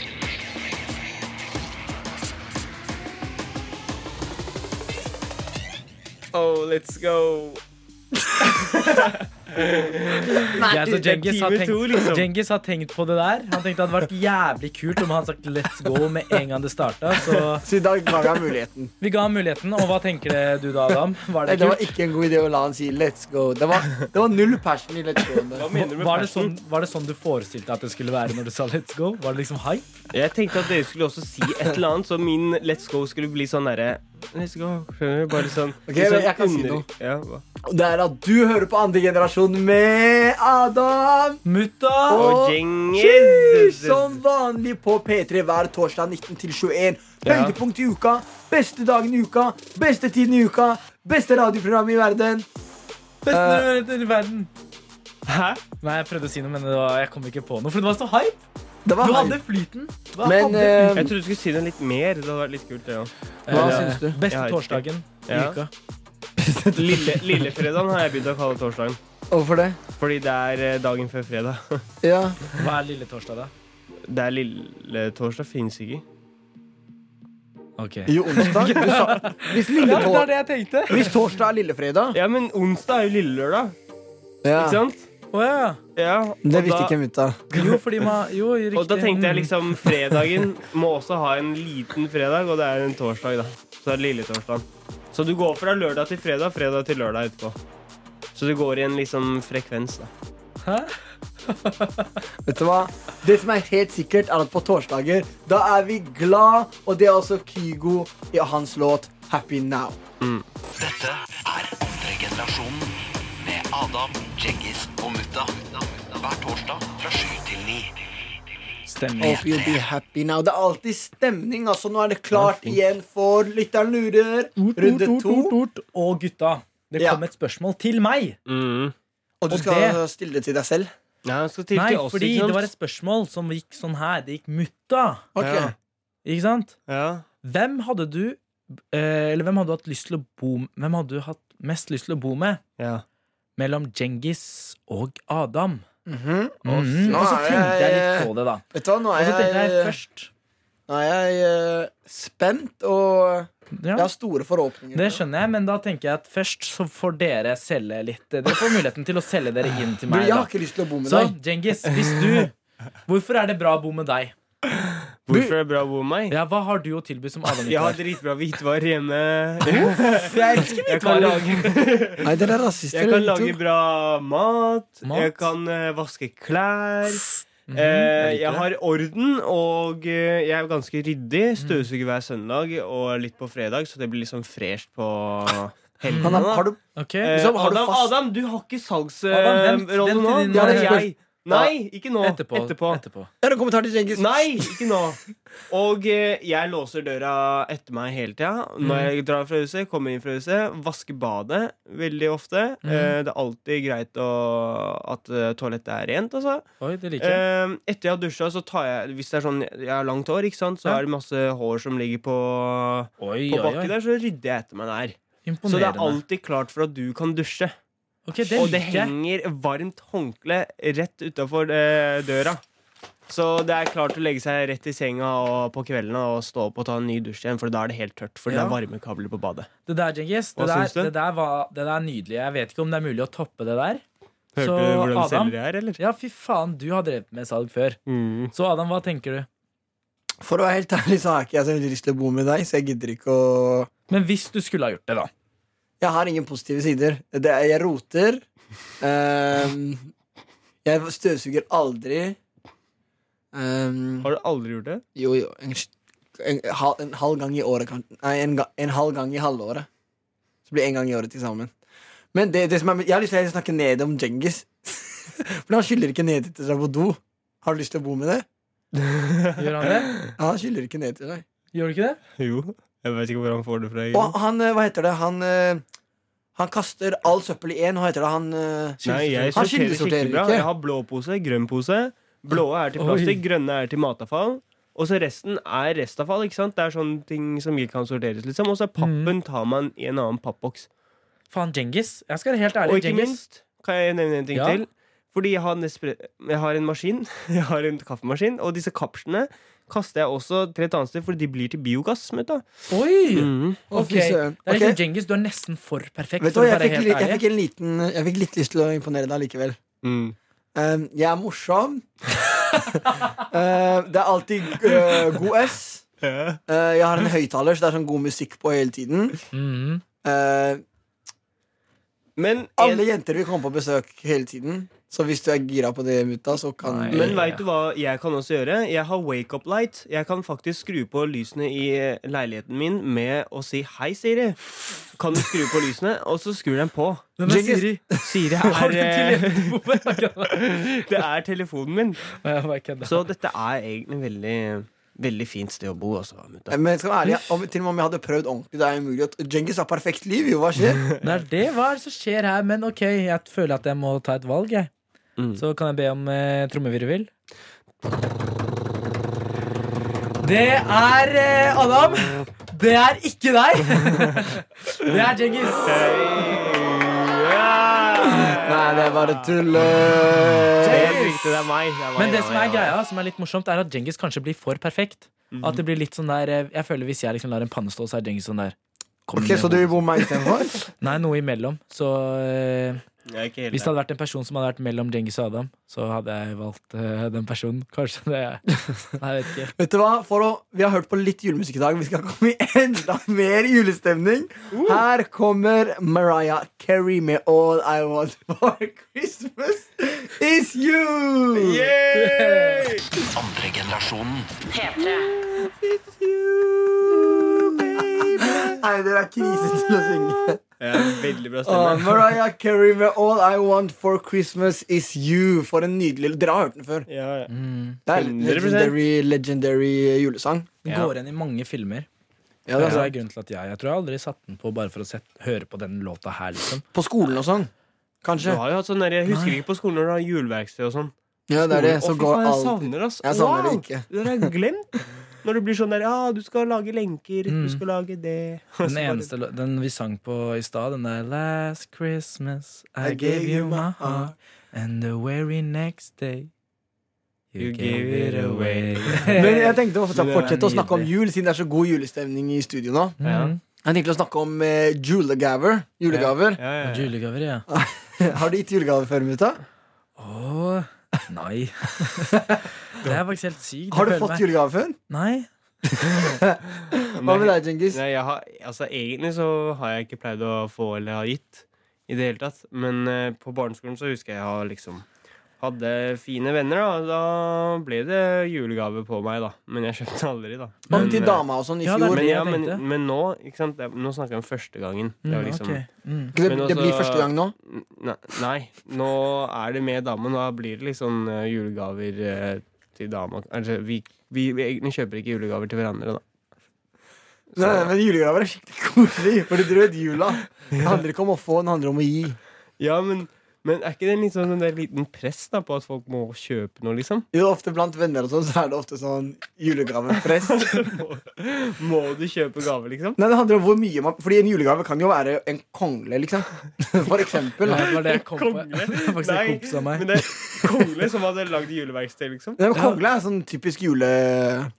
[SPEAKER 4] Oh, let's go.
[SPEAKER 3] Ja, så
[SPEAKER 4] det er
[SPEAKER 3] Genghis har,
[SPEAKER 4] time
[SPEAKER 3] tenkt,
[SPEAKER 4] to, liksom.
[SPEAKER 3] Genghis har tenkt på det der. Han tenkte det hadde vært jævlig kult om han hadde sagt 'let's go' med en gang det starta. Så
[SPEAKER 2] Så i dag ga jeg muligheten.
[SPEAKER 3] vi ga ham muligheten. Og hva tenker det du da, Adam? Var
[SPEAKER 2] Nei,
[SPEAKER 3] det
[SPEAKER 2] det var
[SPEAKER 3] kult?
[SPEAKER 2] ikke en god idé å la han si 'let's go'. Det var, det var null passion i 'let's go'.
[SPEAKER 4] Hva
[SPEAKER 2] Der.
[SPEAKER 4] mener du med
[SPEAKER 3] Var det,
[SPEAKER 4] passion?
[SPEAKER 3] sånn, var det sånn du forestilte deg at det skulle være når du sa 'let's go'? Var det liksom hype?
[SPEAKER 4] Jeg tenkte at dere skulle også si et eller annet, så min let's go skulle bli sånn derre Let's go. Skjønner du? Bare sånn.
[SPEAKER 2] Ok, men
[SPEAKER 4] litt sånn
[SPEAKER 2] jeg kan si
[SPEAKER 4] under-
[SPEAKER 2] noe.
[SPEAKER 4] Ja, hva?
[SPEAKER 2] Og Det er at du hører på andre generasjon med Adam
[SPEAKER 3] Mutta!
[SPEAKER 4] Og
[SPEAKER 2] og Chi
[SPEAKER 4] Genghis.
[SPEAKER 2] som vanlig på P3 hver torsdag 19 til 21. Høydepunkt i uka, beste dagen i uka, beste tiden i uka, beste radioprogram i verden.
[SPEAKER 3] Beste i verden.
[SPEAKER 4] Hæ?
[SPEAKER 3] Eh, Nei, jeg prøvde å si noe, men det var, jeg kom ikke på noe. For det var så hype.
[SPEAKER 2] Det var
[SPEAKER 3] Du hadde
[SPEAKER 2] hype.
[SPEAKER 3] flyten. Du
[SPEAKER 2] Men
[SPEAKER 3] hadde
[SPEAKER 2] eh,
[SPEAKER 4] Jeg trodde du skulle si noe litt mer. Det hadde vært litt kult, det òg.
[SPEAKER 2] hva
[SPEAKER 3] Eh,
[SPEAKER 2] syns du?
[SPEAKER 3] Beste
[SPEAKER 4] Jeg vet ikke.
[SPEAKER 3] torsdagen i
[SPEAKER 4] Ja.
[SPEAKER 3] uka.
[SPEAKER 4] Lille, lillefredagen har jeg begynt å kalle torsdagen.
[SPEAKER 2] Hvorfor det?
[SPEAKER 4] Fordi det er eh, dagen før fredag.
[SPEAKER 2] Ja.
[SPEAKER 3] Hva er lille torsdag, da?
[SPEAKER 4] Det er lille torsdag finnes ikke.
[SPEAKER 3] Ok.
[SPEAKER 2] Jo, onsdag. Du sa, hvis, lille
[SPEAKER 3] Ja, det
[SPEAKER 2] tor
[SPEAKER 3] er det jeg tenkte.
[SPEAKER 2] hvis torsdag er lillefredag
[SPEAKER 4] Ja, men onsdag er jo lille lørdag, ikke
[SPEAKER 2] ja.
[SPEAKER 4] sant?
[SPEAKER 3] Å ja.
[SPEAKER 4] Ja, og
[SPEAKER 2] Det visste
[SPEAKER 4] da-
[SPEAKER 2] ikke mutta.
[SPEAKER 3] Jo, fordi man Jo, riktig.
[SPEAKER 4] Og da tenkte jeg
[SPEAKER 3] Mm.
[SPEAKER 4] liksom fredagen må også ha en liten fredag, og det er en torsdag, da. Så det er lille torsdag. Så du går fra lørdag til fredag, fredag til lørdag etterpå. Så du går i en liksom frekvens, da.
[SPEAKER 3] Hæ?
[SPEAKER 2] Vet du hva? Det som er helt sikkert, er at på torsdager da er vi glad, og det er også Kygo i hans låt 'Happy Now'.
[SPEAKER 1] Dette er andre generasjonen med Adam, Djengis og Mutta. Hver torsdag fra 7 til 9.
[SPEAKER 3] liksom- Stemmer.
[SPEAKER 2] Hope you'll be happy now. Det er alltid stemning. altså Nå er det klart igjen for Lytteren lurer. Runde to.
[SPEAKER 3] Og gutta, det
[SPEAKER 2] Ja.
[SPEAKER 3] kom et spørsmål til meg.
[SPEAKER 2] Og du
[SPEAKER 3] Og
[SPEAKER 2] skal stille det til deg selv.
[SPEAKER 4] Ja, jeg skal til
[SPEAKER 3] Mm. Nei,
[SPEAKER 4] til oss,
[SPEAKER 3] fordi
[SPEAKER 4] ikke sant?
[SPEAKER 3] det var et spørsmål som gikk sånn her. Det gikk mutta.
[SPEAKER 2] Ok.
[SPEAKER 4] Ja.
[SPEAKER 3] Ikke sant?
[SPEAKER 4] ja.
[SPEAKER 3] Hvem hadde du eh, Eller hvem hadde du hatt lyst til å bo Hvem hadde du hatt mest lyst til å bo med?
[SPEAKER 4] ja.
[SPEAKER 3] Mellom Djengis og Adam. Mm,
[SPEAKER 2] nå
[SPEAKER 4] Mhm.
[SPEAKER 3] og så
[SPEAKER 2] er
[SPEAKER 3] tenkte jeg
[SPEAKER 2] jeg-
[SPEAKER 3] litt på det, da.
[SPEAKER 2] Vet du hva, nå
[SPEAKER 3] Og
[SPEAKER 2] er
[SPEAKER 3] så tenkte jeg
[SPEAKER 2] jeg,
[SPEAKER 3] først
[SPEAKER 2] nå er jeg eh, spent, og jeg
[SPEAKER 3] ja,
[SPEAKER 2] har store forhåpninger.
[SPEAKER 3] Det skjønner jeg, men da tenker jeg at først så får dere selge litt. Dere får muligheten til å selge dere inn til
[SPEAKER 2] du,
[SPEAKER 3] meg.
[SPEAKER 2] jeg har
[SPEAKER 3] Da.
[SPEAKER 2] ikke lyst til å bo med
[SPEAKER 3] Så
[SPEAKER 2] deg.
[SPEAKER 3] Djengis, hvis du Hvorfor er det bra å bo med deg?
[SPEAKER 4] Hvorfor er det bra å bo med meg?
[SPEAKER 3] Ja, Hva har du å tilby som Adam
[SPEAKER 4] Jeg
[SPEAKER 3] ikke
[SPEAKER 4] har
[SPEAKER 3] har?
[SPEAKER 4] dritbra hvitvarer hjemme.
[SPEAKER 2] Jeg elsker
[SPEAKER 4] Jeg kan lage,
[SPEAKER 2] Nei, dere er rasister.
[SPEAKER 4] jeg kan
[SPEAKER 2] begge to.
[SPEAKER 4] lage bra mat.
[SPEAKER 3] Mat?
[SPEAKER 4] Jeg kan eh, vaske klær.
[SPEAKER 3] Mhm,
[SPEAKER 4] Eh,
[SPEAKER 3] jeg liker
[SPEAKER 4] jeg
[SPEAKER 3] det.
[SPEAKER 4] har orden, og eh, jeg er ganske ryddig. Støvsuger hver søndag og litt på fredag, så det blir liksom fresht på helgene.
[SPEAKER 2] Han har,
[SPEAKER 4] da.
[SPEAKER 2] har du,
[SPEAKER 3] Ok.
[SPEAKER 4] Eh,
[SPEAKER 2] liksom, har du
[SPEAKER 4] Adam,
[SPEAKER 2] fast-
[SPEAKER 4] Adam, du har ikke
[SPEAKER 3] Adam,
[SPEAKER 4] salgsrollen
[SPEAKER 3] vent, vent til
[SPEAKER 4] nå.
[SPEAKER 3] din-
[SPEAKER 4] Det har
[SPEAKER 2] Ja,
[SPEAKER 4] jeg. Nei, ikke nå.
[SPEAKER 3] Etterpå. etterpå.
[SPEAKER 2] er det en kommentar til Cengiz?
[SPEAKER 4] Nei, ikke nå. Og eh, jeg låser døra etter meg hele tida. Når jeg drar fra huset, kommer inn fra huset, vasker badet veldig ofte. Eh, det er alltid greit å, at eh, toalettet er rent, altså.
[SPEAKER 3] Oi, det liker jeg.
[SPEAKER 4] Eh, etter jeg har dusja, så tar jeg Hvis det er sånn jeg har langt hår, ikke sant, så
[SPEAKER 3] Ja.
[SPEAKER 4] er det masse hår som ligger på,
[SPEAKER 3] Oi,
[SPEAKER 4] på
[SPEAKER 3] oi,
[SPEAKER 4] bakken
[SPEAKER 3] oi.
[SPEAKER 4] der, så rydder jeg etter meg der. Så det er
[SPEAKER 3] Imponerende.
[SPEAKER 4] alltid klart for at du kan dusje.
[SPEAKER 3] Ok, det
[SPEAKER 4] og det
[SPEAKER 3] liker jeg.
[SPEAKER 4] henger varmt håndkle rett utafor eh, døra. Så det er klart å legge seg rett i senga og på kveldene og stå opp og ta en ny dusj igjen, for da er det helt tørt. For det
[SPEAKER 3] Ja.
[SPEAKER 4] er varmekabler på badet.
[SPEAKER 3] Det der, Djengis, det,
[SPEAKER 4] Hva
[SPEAKER 3] der,
[SPEAKER 4] syns du?
[SPEAKER 3] det, der var- det der er nydelig. Jeg vet ikke om det er mulig å toppe det der. Så, Adam-
[SPEAKER 4] er, eller?
[SPEAKER 3] Ja, fy faen, du har drevet med salg før.
[SPEAKER 4] Mm.
[SPEAKER 3] Så Adam, hva tenker du?
[SPEAKER 2] For å være helt ærlig, så har jeg ikke jeg så veldig lyst til å bo med deg, så jeg gidder ikke å
[SPEAKER 3] Men hvis du skulle ha gjort det, da.
[SPEAKER 2] Jeg har ingen positive sider. Det er, jeg roter. Ehm, jeg støvsuger aldri. Ehm,
[SPEAKER 4] Har du aldri gjort det?
[SPEAKER 2] jo, jo. En, en, hal- en halv gang i året, kan- Nei, en, ga- en halv gang i halvåret. Så blir det en gang i året til sammen. Men det, det som er, jeg har lyst til å snakke ned om Djengis. For han skyller ikke ned til seg på do. Har du lyst til å bo med det?
[SPEAKER 3] Gjør han det?
[SPEAKER 2] Ja, han skyller ikke ned til deg.
[SPEAKER 3] Gjør du ikke det?
[SPEAKER 4] Jo. Jeg vet ikke hvor han får det fra. egentlig.
[SPEAKER 2] Og han, eh, hva heter det, han eh, Han kaster all søppel i én, hva heter det, han eh,
[SPEAKER 4] Nei,
[SPEAKER 2] Han
[SPEAKER 4] jeg sorterer
[SPEAKER 2] kildesorterer
[SPEAKER 4] skikkelig bra.
[SPEAKER 2] ikke.
[SPEAKER 4] Jeg har blå pose, grønn pose. Blå er til plastikk, grønne er til matavfall. Og så resten er restavfall. ikke sant? Det er sånne ting som ikke kan sorteres. liksom. Og så er pappen tar man i en annen pappboks.
[SPEAKER 3] Faen, Djengis. Jeg skal være helt ærlig.
[SPEAKER 4] Og ikke
[SPEAKER 3] Djengis.
[SPEAKER 4] minst kan jeg nevne en ting
[SPEAKER 3] Ja.
[SPEAKER 4] til. Fordi jeg har, en espre- jeg har en maskin, jeg har en kaffemaskin, og disse kapslene kaster jeg også til et annet sted, for de blir til biogass. Vet du.
[SPEAKER 3] Oi!
[SPEAKER 4] Mm.
[SPEAKER 2] å,
[SPEAKER 3] Ok,
[SPEAKER 2] fy søren.
[SPEAKER 3] Det er
[SPEAKER 2] Ok.
[SPEAKER 3] liksom Djengis, du er nesten for perfekt.
[SPEAKER 2] Vet du
[SPEAKER 3] for
[SPEAKER 2] hva,
[SPEAKER 3] å
[SPEAKER 2] jeg
[SPEAKER 3] være
[SPEAKER 2] fikk,
[SPEAKER 3] helt
[SPEAKER 2] li- jeg
[SPEAKER 3] ærlig.
[SPEAKER 2] fikk en liten Jeg fikk litt lyst til å imponere deg likevel.
[SPEAKER 4] Mm.
[SPEAKER 2] Um, jeg er morsom. Eh, det er alltid eh, god S. Eh, jeg har en høyttaler, så det er sånn god musikk på hele tiden.
[SPEAKER 3] Mhm.
[SPEAKER 2] Eh,
[SPEAKER 4] Men, en,
[SPEAKER 2] alle jenter vil komme på besøk hele tiden. Så hvis du er gira på det, mutta, så kan
[SPEAKER 3] Nei.
[SPEAKER 2] du
[SPEAKER 4] men veit du hva jeg kan også gjøre? Jeg har wake-up light. Jeg kan faktisk skru på lysene i eh, leiligheten min med å si 'hei, Siri'. Kan du skru på lysene? Og så skrur den på.
[SPEAKER 3] Hvem er
[SPEAKER 2] Djengis-
[SPEAKER 3] Siri?
[SPEAKER 4] Siri er,
[SPEAKER 3] Har du
[SPEAKER 4] eh,
[SPEAKER 3] tilgjengelig
[SPEAKER 4] det er telefonen min.
[SPEAKER 3] telefon?
[SPEAKER 4] Så dette er egentlig veldig, veldig fint sted å bo, altså.
[SPEAKER 2] Eh,
[SPEAKER 4] Mutta.
[SPEAKER 2] Men jeg skal være ærlig, om, til og med om jeg hadde prøvd ordentlig, det er umulig. at- Djengis har perfekt liv, jo. Hva skjer?
[SPEAKER 3] Det er det. Hva er det som skjer her? Men ok, jeg føler at jeg må ta et valg, jeg.
[SPEAKER 4] Mm.
[SPEAKER 3] Så kan jeg be om eh, trommevirvel. Det er eh, Adam. Det er ikke deg. det er Djengis.
[SPEAKER 2] Nei, det er bare tull.
[SPEAKER 4] Helt riktig, det er meg. Det er meg,
[SPEAKER 3] Men
[SPEAKER 4] er meg, det
[SPEAKER 3] det som er
[SPEAKER 4] er meg.
[SPEAKER 3] greia, som er litt morsomt, er at Djengis kanskje blir for perfekt. At det blir litt sånn der eh, Jeg føler hvis jeg liksom lar en panne stå, så er Djengis sånn der. Kom
[SPEAKER 2] Ok,
[SPEAKER 3] med
[SPEAKER 2] Så du
[SPEAKER 3] hodet.
[SPEAKER 2] vil bo med meg istedenfor?
[SPEAKER 3] Nei, noe imellom. Så eh,
[SPEAKER 4] Jeg er ikke helt
[SPEAKER 3] Hvis det hadde vært en person som hadde vært mellom Djengis og Adam, så hadde jeg valgt eh, den personen. Kanskje det er Nei, jeg vet ikke.
[SPEAKER 2] Vet du hva? For å, vi har hørt på litt julemusikk i dag. Vi skal komme i enda mer julestemning. Her kommer Mariah Carey med All I Want for Christmas Is You.
[SPEAKER 1] Andre generasjonen.
[SPEAKER 2] Nei, dere er krise til å synge.
[SPEAKER 4] Jeg har en veldig bra
[SPEAKER 2] Åh,
[SPEAKER 4] stemme.
[SPEAKER 2] Mariah Carey med All I Want for Christmas Is You. For en nydelig Dere har hørt den før.
[SPEAKER 4] Ja, ja.
[SPEAKER 2] Det er en legendary, legendary julesang.
[SPEAKER 3] Den
[SPEAKER 4] Ja.
[SPEAKER 3] går igjen i mange filmer.
[SPEAKER 2] Ja,
[SPEAKER 3] det
[SPEAKER 2] det er
[SPEAKER 3] er
[SPEAKER 2] sant.
[SPEAKER 3] grunnen til at jeg, jeg tror jeg aldri satt den på bare for å sett, høre på den låta her, liksom.
[SPEAKER 2] På skolen og sånn.
[SPEAKER 4] Du
[SPEAKER 2] Kanskje.
[SPEAKER 4] har jo hatt sånn der, Jeg husker ikke på skolen når du har juleverksted og sånn.
[SPEAKER 2] Ja, det er det. Så
[SPEAKER 4] Å, fy
[SPEAKER 2] går
[SPEAKER 4] faen, jeg
[SPEAKER 2] alt
[SPEAKER 4] savner det, ass.
[SPEAKER 2] Jeg savner det
[SPEAKER 4] Wow!
[SPEAKER 2] ikke.
[SPEAKER 4] Det har jeg glemt. Når det blir sånn der Ja, du skal lage lenker,
[SPEAKER 3] Mm.
[SPEAKER 4] du skal lage det
[SPEAKER 3] Den eneste lå- den vi sang på i stad, den der Last Christmas I
[SPEAKER 2] I
[SPEAKER 3] gave you my heart And the very next day You
[SPEAKER 4] You
[SPEAKER 3] gave
[SPEAKER 4] gave
[SPEAKER 3] it
[SPEAKER 4] it
[SPEAKER 3] away.
[SPEAKER 2] Men jeg tenkte å
[SPEAKER 4] Men det er
[SPEAKER 2] fortsette å snakke om
[SPEAKER 3] nydelig.
[SPEAKER 2] jul, siden det er så god julestemning i studio nå.
[SPEAKER 3] Mm.
[SPEAKER 2] Jeg tenkte å snakke om eh, julegaver. julegaver.
[SPEAKER 4] Ja, ja, ja.
[SPEAKER 3] Julegaver, ja.
[SPEAKER 2] Har du gitt julegave før, Mutta?
[SPEAKER 3] Åh, nei. det er faktisk helt sykt.
[SPEAKER 2] Har du
[SPEAKER 3] Jeg føler
[SPEAKER 2] fått
[SPEAKER 3] meg-
[SPEAKER 2] julegave før?
[SPEAKER 3] Nei.
[SPEAKER 2] Hva med deg, Djengis?
[SPEAKER 4] Nei, jeg har, altså, egentlig så har jeg ikke pleid å få eller ha gitt i det hele tatt. Men eh, på barneskolen så husker jeg jeg har liksom hadde fine venner, da. Da ble det julegave på meg, da. Men jeg kjøpte aldri, da.
[SPEAKER 2] Hva med
[SPEAKER 4] Men,
[SPEAKER 2] til
[SPEAKER 4] eh,
[SPEAKER 2] dama og sånn i
[SPEAKER 3] Ja, det er
[SPEAKER 2] fjor?
[SPEAKER 4] Men,
[SPEAKER 3] jeg
[SPEAKER 4] ja, men,
[SPEAKER 3] tenkte.
[SPEAKER 4] men nå ikke sant? Det er- Nå snakker jeg om første gangen. Det var
[SPEAKER 3] Mm,
[SPEAKER 4] liksom,
[SPEAKER 3] ok. Mm.
[SPEAKER 2] Det,
[SPEAKER 4] men
[SPEAKER 2] det blir
[SPEAKER 4] også-
[SPEAKER 2] første gang nå?
[SPEAKER 4] Nei, nei, nå er det med damen. Da blir det liksom eh, julegaver eh, til dama. Altså, vi, vi, vi egentlig kjøper ikke julegaver til hverandre, da.
[SPEAKER 2] Nei, nei, men julegaver er skikkelig koselig. Fordi du vet, jula Det handler ikke om å få, det handler om å gi.
[SPEAKER 4] Ja, men, men er ikke det liksom en del liten press da på at folk må kjøpe noe, liksom?
[SPEAKER 2] Jo, ofte Blant venner og sånn Så er det ofte sånn julegavepress.
[SPEAKER 4] må, må du kjøpe gave, liksom?
[SPEAKER 2] Nei, det handler om hvor mye man Fordi en julegave kan jo være en kongle, liksom. For eksempel.
[SPEAKER 3] Ja, det var det jeg kom på.
[SPEAKER 4] Kongle?
[SPEAKER 3] Det var faktisk en
[SPEAKER 4] Nei,
[SPEAKER 3] kompis av meg.
[SPEAKER 4] Men det er kongle som hadde lagd juleverksted, liksom.
[SPEAKER 2] Nei, men kongle er sånn typisk jule...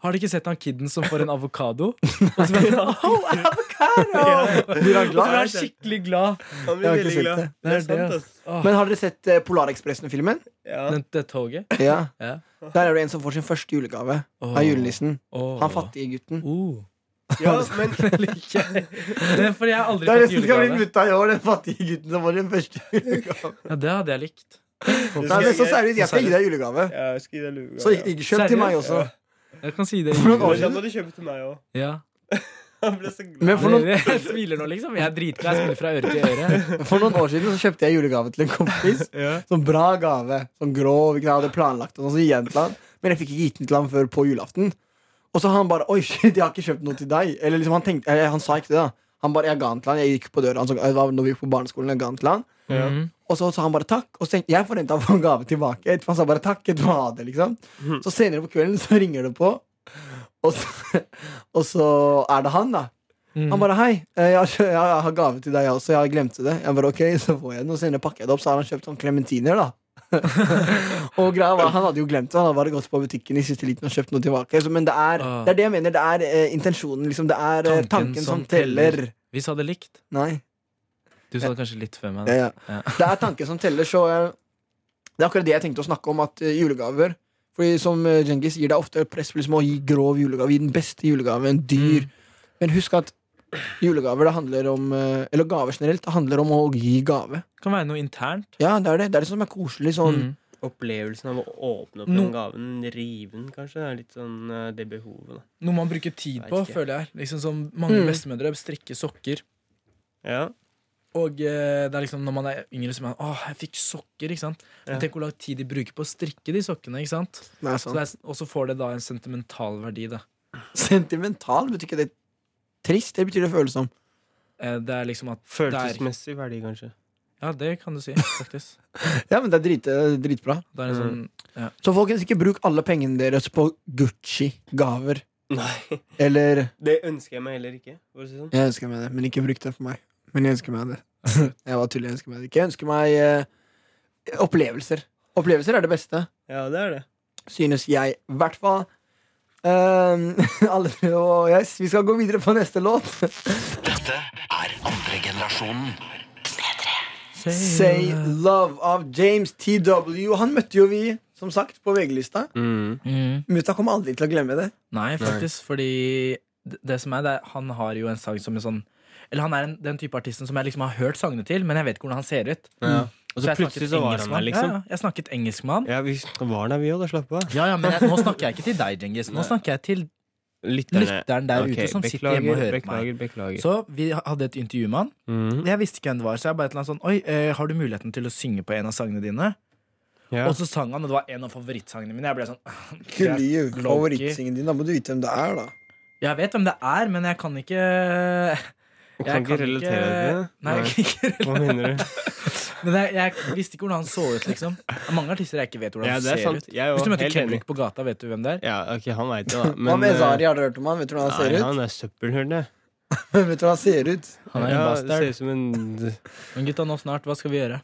[SPEAKER 3] Har du ikke sett han kiden som får en avokado? Og så blir han, «Au!»
[SPEAKER 2] Blir han
[SPEAKER 3] Og så blir
[SPEAKER 2] glad?
[SPEAKER 3] han skikkelig glad.
[SPEAKER 4] Han
[SPEAKER 2] Jeg
[SPEAKER 4] blir
[SPEAKER 2] har
[SPEAKER 4] veldig
[SPEAKER 2] ikke sett
[SPEAKER 4] glad.
[SPEAKER 2] det.
[SPEAKER 4] Det er
[SPEAKER 3] Det er det,
[SPEAKER 4] sant, ass.
[SPEAKER 2] Men har dere sett eh, Polarekspressen-filmen?
[SPEAKER 4] Ja.
[SPEAKER 3] Det, det toget.
[SPEAKER 2] Ja.
[SPEAKER 3] Ja.
[SPEAKER 2] Der er det en som får sin første julegave
[SPEAKER 3] Åh.
[SPEAKER 2] av julenissen.
[SPEAKER 3] Åh.
[SPEAKER 2] Han fattige gutten.
[SPEAKER 3] Oh.
[SPEAKER 4] ja, men
[SPEAKER 3] Det liker jeg. Det er fordi jeg har aldri
[SPEAKER 2] Det er det
[SPEAKER 3] fått
[SPEAKER 2] som skal bli
[SPEAKER 3] julegave.
[SPEAKER 2] mutta i år, den fattige gutten som får sin første julegave.
[SPEAKER 3] Ja, det hadde jeg likt.
[SPEAKER 2] Nei, men så seriøst, jeg skal gi deg julegave.
[SPEAKER 4] Ja, jeg skal gi deg luegave,
[SPEAKER 2] Så
[SPEAKER 4] ja.
[SPEAKER 2] ikke kjøp til meg også.
[SPEAKER 3] Jeg kan si det.
[SPEAKER 2] For noen år
[SPEAKER 4] Men Da må du kjøpe til meg òg.
[SPEAKER 3] Ja.
[SPEAKER 4] Han ble så glad.
[SPEAKER 2] Men for noen,
[SPEAKER 3] Jeg smiler nå, liksom. Jeg er dritglad. Jeg smiler fra øre til øre.
[SPEAKER 2] for noen år siden så kjøpte jeg julegave til en kompis.
[SPEAKER 4] Ja.
[SPEAKER 2] Sånn bra gave. Sånn grov. Ikke sant, jeg hadde planlagt den, og så gir jeg den til han. Men jeg fikk ikke gitt den til ham før på julaften. Og så han bare Oi, shit, jeg har ikke kjøpt noe til deg. Eller liksom han tenkte eh, Han sa ikke det, da. Han bare, Jeg ga den til han. Jeg gikk på døra hans og- eh, da- når vi gikk på barneskolen. Jeg ga den til han.
[SPEAKER 3] Mhm.
[SPEAKER 2] Og så sa han bare takk. Og så tenkte jeg forventa å få en gave tilbake. Etterpå han sa bare takk. Etterpå ha det, liksom. Så senere på kvelden så ringer det på, og så, og så er det han, da. Han bare 'hei, eh, jeg har, kjø- jeg har gave til deg også, jeg glemte det'. Jeg bare ok, så får jeg den, og senere pakker jeg det opp, så har han kjøpt sånn klementiner, da. og greia var, Han hadde jo glemt det, han hadde bare gått på butikken i siste liten og kjøpt noe tilbake. Så, men det er,
[SPEAKER 3] Ah.
[SPEAKER 2] det er det jeg mener. Det er eh, intensjonen, liksom. Det er eh, tanken, som teller.
[SPEAKER 3] Vi sa det likt.
[SPEAKER 2] Nei.
[SPEAKER 3] Du sa det kanskje litt før meg.
[SPEAKER 2] Ja,
[SPEAKER 3] Da.
[SPEAKER 2] ja. Det er tanken som teller, så eh, Det er akkurat det jeg tenkte å snakke om, at eh, julegaver Fordi som eh, Djengis sier, det er ofte press for liksom å gi grov julegave, gi den beste julegaven, dyr. Men husk at julegaver det handler om eh, Eller gaver generelt, det handler om å gi gave.
[SPEAKER 3] Det kan være noe internt.
[SPEAKER 2] Ja, det er det. Det er det som er koselig. Sånn.
[SPEAKER 3] Mm.
[SPEAKER 4] Opplevelsen av å åpne opp
[SPEAKER 3] No.
[SPEAKER 4] den gaven, rive den, kanskje. Det er litt sånn eh, det behovet, da.
[SPEAKER 3] Noe man bruker tid
[SPEAKER 4] Vet
[SPEAKER 3] på,
[SPEAKER 4] ikke.
[SPEAKER 3] føler jeg. Liksom Som mange
[SPEAKER 2] Mm.
[SPEAKER 3] bestemødre strikker sokker.
[SPEAKER 4] Ja.
[SPEAKER 3] Og eh, det er liksom når man er yngre, så er man Åh, jeg fikk sokker, ikke sant? Men
[SPEAKER 4] Ja.
[SPEAKER 3] tenk hvor lang tid de bruker på å strikke de sokkene, ikke sant?
[SPEAKER 2] Nei,
[SPEAKER 3] Så
[SPEAKER 2] sånn.
[SPEAKER 3] det er, og så får det da en sentimental verdi, da.
[SPEAKER 2] Sentimental betyr ikke det trist, det betyr det følsom.
[SPEAKER 3] Eh, Det er liksom at
[SPEAKER 4] Følelsesmessig verdi, kanskje.
[SPEAKER 3] Ja, det kan du si, faktisk.
[SPEAKER 2] Ja, men det er drit, eh, dritbra.
[SPEAKER 3] Det er en sånn
[SPEAKER 2] Så folkens, ikke bruk alle pengene deres på Gucci-gaver.
[SPEAKER 4] Nei,
[SPEAKER 2] Eller
[SPEAKER 4] det ønsker jeg meg heller ikke. For å si det sånn.
[SPEAKER 2] Jeg ønsker meg det, men ikke bruk det for meg. Men jeg ønsker meg det. jeg var tullig, jeg ønsker meg det. Ikke jeg ønsker meg eh, opplevelser. Opplevelser er det beste,
[SPEAKER 4] Ja, det er det.
[SPEAKER 2] synes jeg. I hvert fall. Ehm, alle, og yes, vi skal gå videre på neste låt.
[SPEAKER 1] Dette er andre generasjonen.
[SPEAKER 2] Say Love av James TW. Han møtte jo vi, som sagt, på VG-lista.
[SPEAKER 3] Mm.
[SPEAKER 2] Mutta kommer aldri til å glemme det.
[SPEAKER 3] Nei, faktisk, fordi det, det som er, det er Han har jo en sang som en sånn Eller han er en, den type artisten som jeg liksom har hørt sangene til, men jeg vet ikke hvordan han ser ut.
[SPEAKER 4] Ja. Og så
[SPEAKER 3] Mm. jeg snakket
[SPEAKER 4] plutselig så var han
[SPEAKER 3] engelsk med
[SPEAKER 4] der, liksom.
[SPEAKER 3] Ja, ja, jeg snakket engelsk med han.
[SPEAKER 4] Ja, vi var der, vi òg. Da slapp av.
[SPEAKER 3] Ja, ja, men jeg, nå snakker jeg ikke til deg, Djengis. Nå snakker jeg til lytteren der
[SPEAKER 4] Ok,
[SPEAKER 3] ute som sitter hjemme og hører på meg.
[SPEAKER 4] beklager, beklager.
[SPEAKER 3] Så vi hadde et intervju med han.
[SPEAKER 4] Mhm.
[SPEAKER 3] Jeg visste ikke hvem det var, så jeg bare et eller annet sånn Oi, eh, har du muligheten til å synge på en av sangene dine?
[SPEAKER 4] Ja.
[SPEAKER 3] Og så sang han, og det var en av favorittsangene mine. Jeg ble sånn
[SPEAKER 2] Kulli,
[SPEAKER 3] Loki.
[SPEAKER 2] favorittsingen din. Da må du vite hvem det er, da.
[SPEAKER 3] Jeg vet hvem det er, men jeg kan ikke Jeg
[SPEAKER 4] Du kan ikke relatere deg til det?
[SPEAKER 3] Nei, jeg kan ikke
[SPEAKER 4] Hva mener du?
[SPEAKER 3] Men jeg, jeg visste ikke hvordan han så ut, liksom. Det er mange artister jeg ikke vet hvordan
[SPEAKER 4] Ja,
[SPEAKER 3] han
[SPEAKER 4] det er
[SPEAKER 3] ser
[SPEAKER 4] sant.
[SPEAKER 3] ut.
[SPEAKER 4] Jeg er
[SPEAKER 3] Hvis du
[SPEAKER 4] jo
[SPEAKER 3] møter
[SPEAKER 4] helt enig.
[SPEAKER 3] Kendrick på gata, vet du hvem det er?
[SPEAKER 4] Ja, ok, han veit det, da.
[SPEAKER 2] Hva med
[SPEAKER 4] eh,
[SPEAKER 2] Zari? Har dere hørt om han? Vet du hvordan han ser
[SPEAKER 4] Nei,
[SPEAKER 2] ut?
[SPEAKER 4] han er søppelhull, det.
[SPEAKER 2] Vet du hvordan han ser ut?
[SPEAKER 3] Han er
[SPEAKER 4] Ja, det
[SPEAKER 3] en
[SPEAKER 4] ser
[SPEAKER 3] bastard.
[SPEAKER 4] ut som en
[SPEAKER 3] Men gutta, nå snart, hva skal vi gjøre?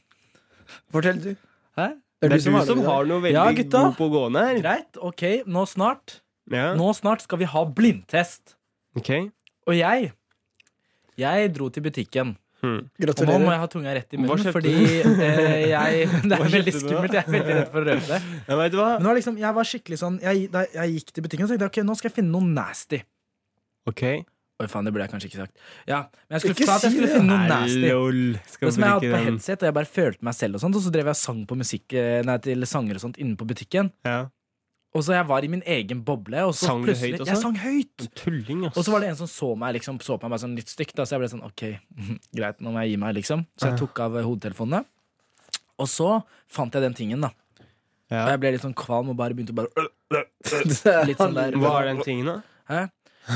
[SPEAKER 2] Fortell, du.
[SPEAKER 3] Hæ?
[SPEAKER 2] Det
[SPEAKER 4] Det er du som har noe veldig
[SPEAKER 3] Ja, gutta.
[SPEAKER 4] god på gående her.
[SPEAKER 3] Greit, ok, nå snart
[SPEAKER 4] Ja.
[SPEAKER 3] Nå snart skal vi ha blindtest
[SPEAKER 4] Ok.
[SPEAKER 3] Og jeg Jeg dro til butikken Og nå må
[SPEAKER 2] Gratulerer.
[SPEAKER 3] jeg ha tunga rett i
[SPEAKER 4] Hva
[SPEAKER 3] munnen
[SPEAKER 4] kjøpte
[SPEAKER 3] Fordi eh, jeg Det
[SPEAKER 4] Hva
[SPEAKER 3] er veldig
[SPEAKER 4] kjøpte du da?
[SPEAKER 3] skummelt, jeg er veldig redd for å røpe det
[SPEAKER 4] Ja, vet du hva?
[SPEAKER 3] Men det var liksom, jeg var skikkelig sånn Jeg, da jeg gikk til butikken og tenkte jeg, Ok, nå skal jeg finne noe nasty
[SPEAKER 4] Ok.
[SPEAKER 3] Oi faen, det burde jeg kanskje ikke sagt Ja, men jeg skulle,
[SPEAKER 2] Ikke
[SPEAKER 3] sa at jeg
[SPEAKER 2] si
[SPEAKER 3] skulle
[SPEAKER 2] det.
[SPEAKER 3] finne noe nasty
[SPEAKER 4] Lol. Skal
[SPEAKER 3] Det som jeg hadde
[SPEAKER 4] bruke
[SPEAKER 3] på
[SPEAKER 4] den.
[SPEAKER 3] headset, og jeg bare følte meg selv og sånt Og så drev jeg og sang på musikk eh, Nei, til sanger og sånt inne på butikken
[SPEAKER 4] Ja.
[SPEAKER 3] Og så jeg var i min egen boble og så
[SPEAKER 4] Sang du
[SPEAKER 3] plutselig-
[SPEAKER 4] høyt også?
[SPEAKER 3] Jeg sang høyt
[SPEAKER 4] Tulling, ass.
[SPEAKER 3] Og så var det en som så meg liksom, så på meg bare sånn litt stygt. Da, så jeg ble sånn OK, greit, nå må jeg gi meg, liksom. Så jeg tok av eh, hodetelefonene. Og så fant jeg den tingen, da.
[SPEAKER 4] Ja.
[SPEAKER 3] Og jeg ble litt sånn kvalm og bare begynte å bare Litt sånn der.
[SPEAKER 4] Hva er den tingen, da?
[SPEAKER 3] Hæ?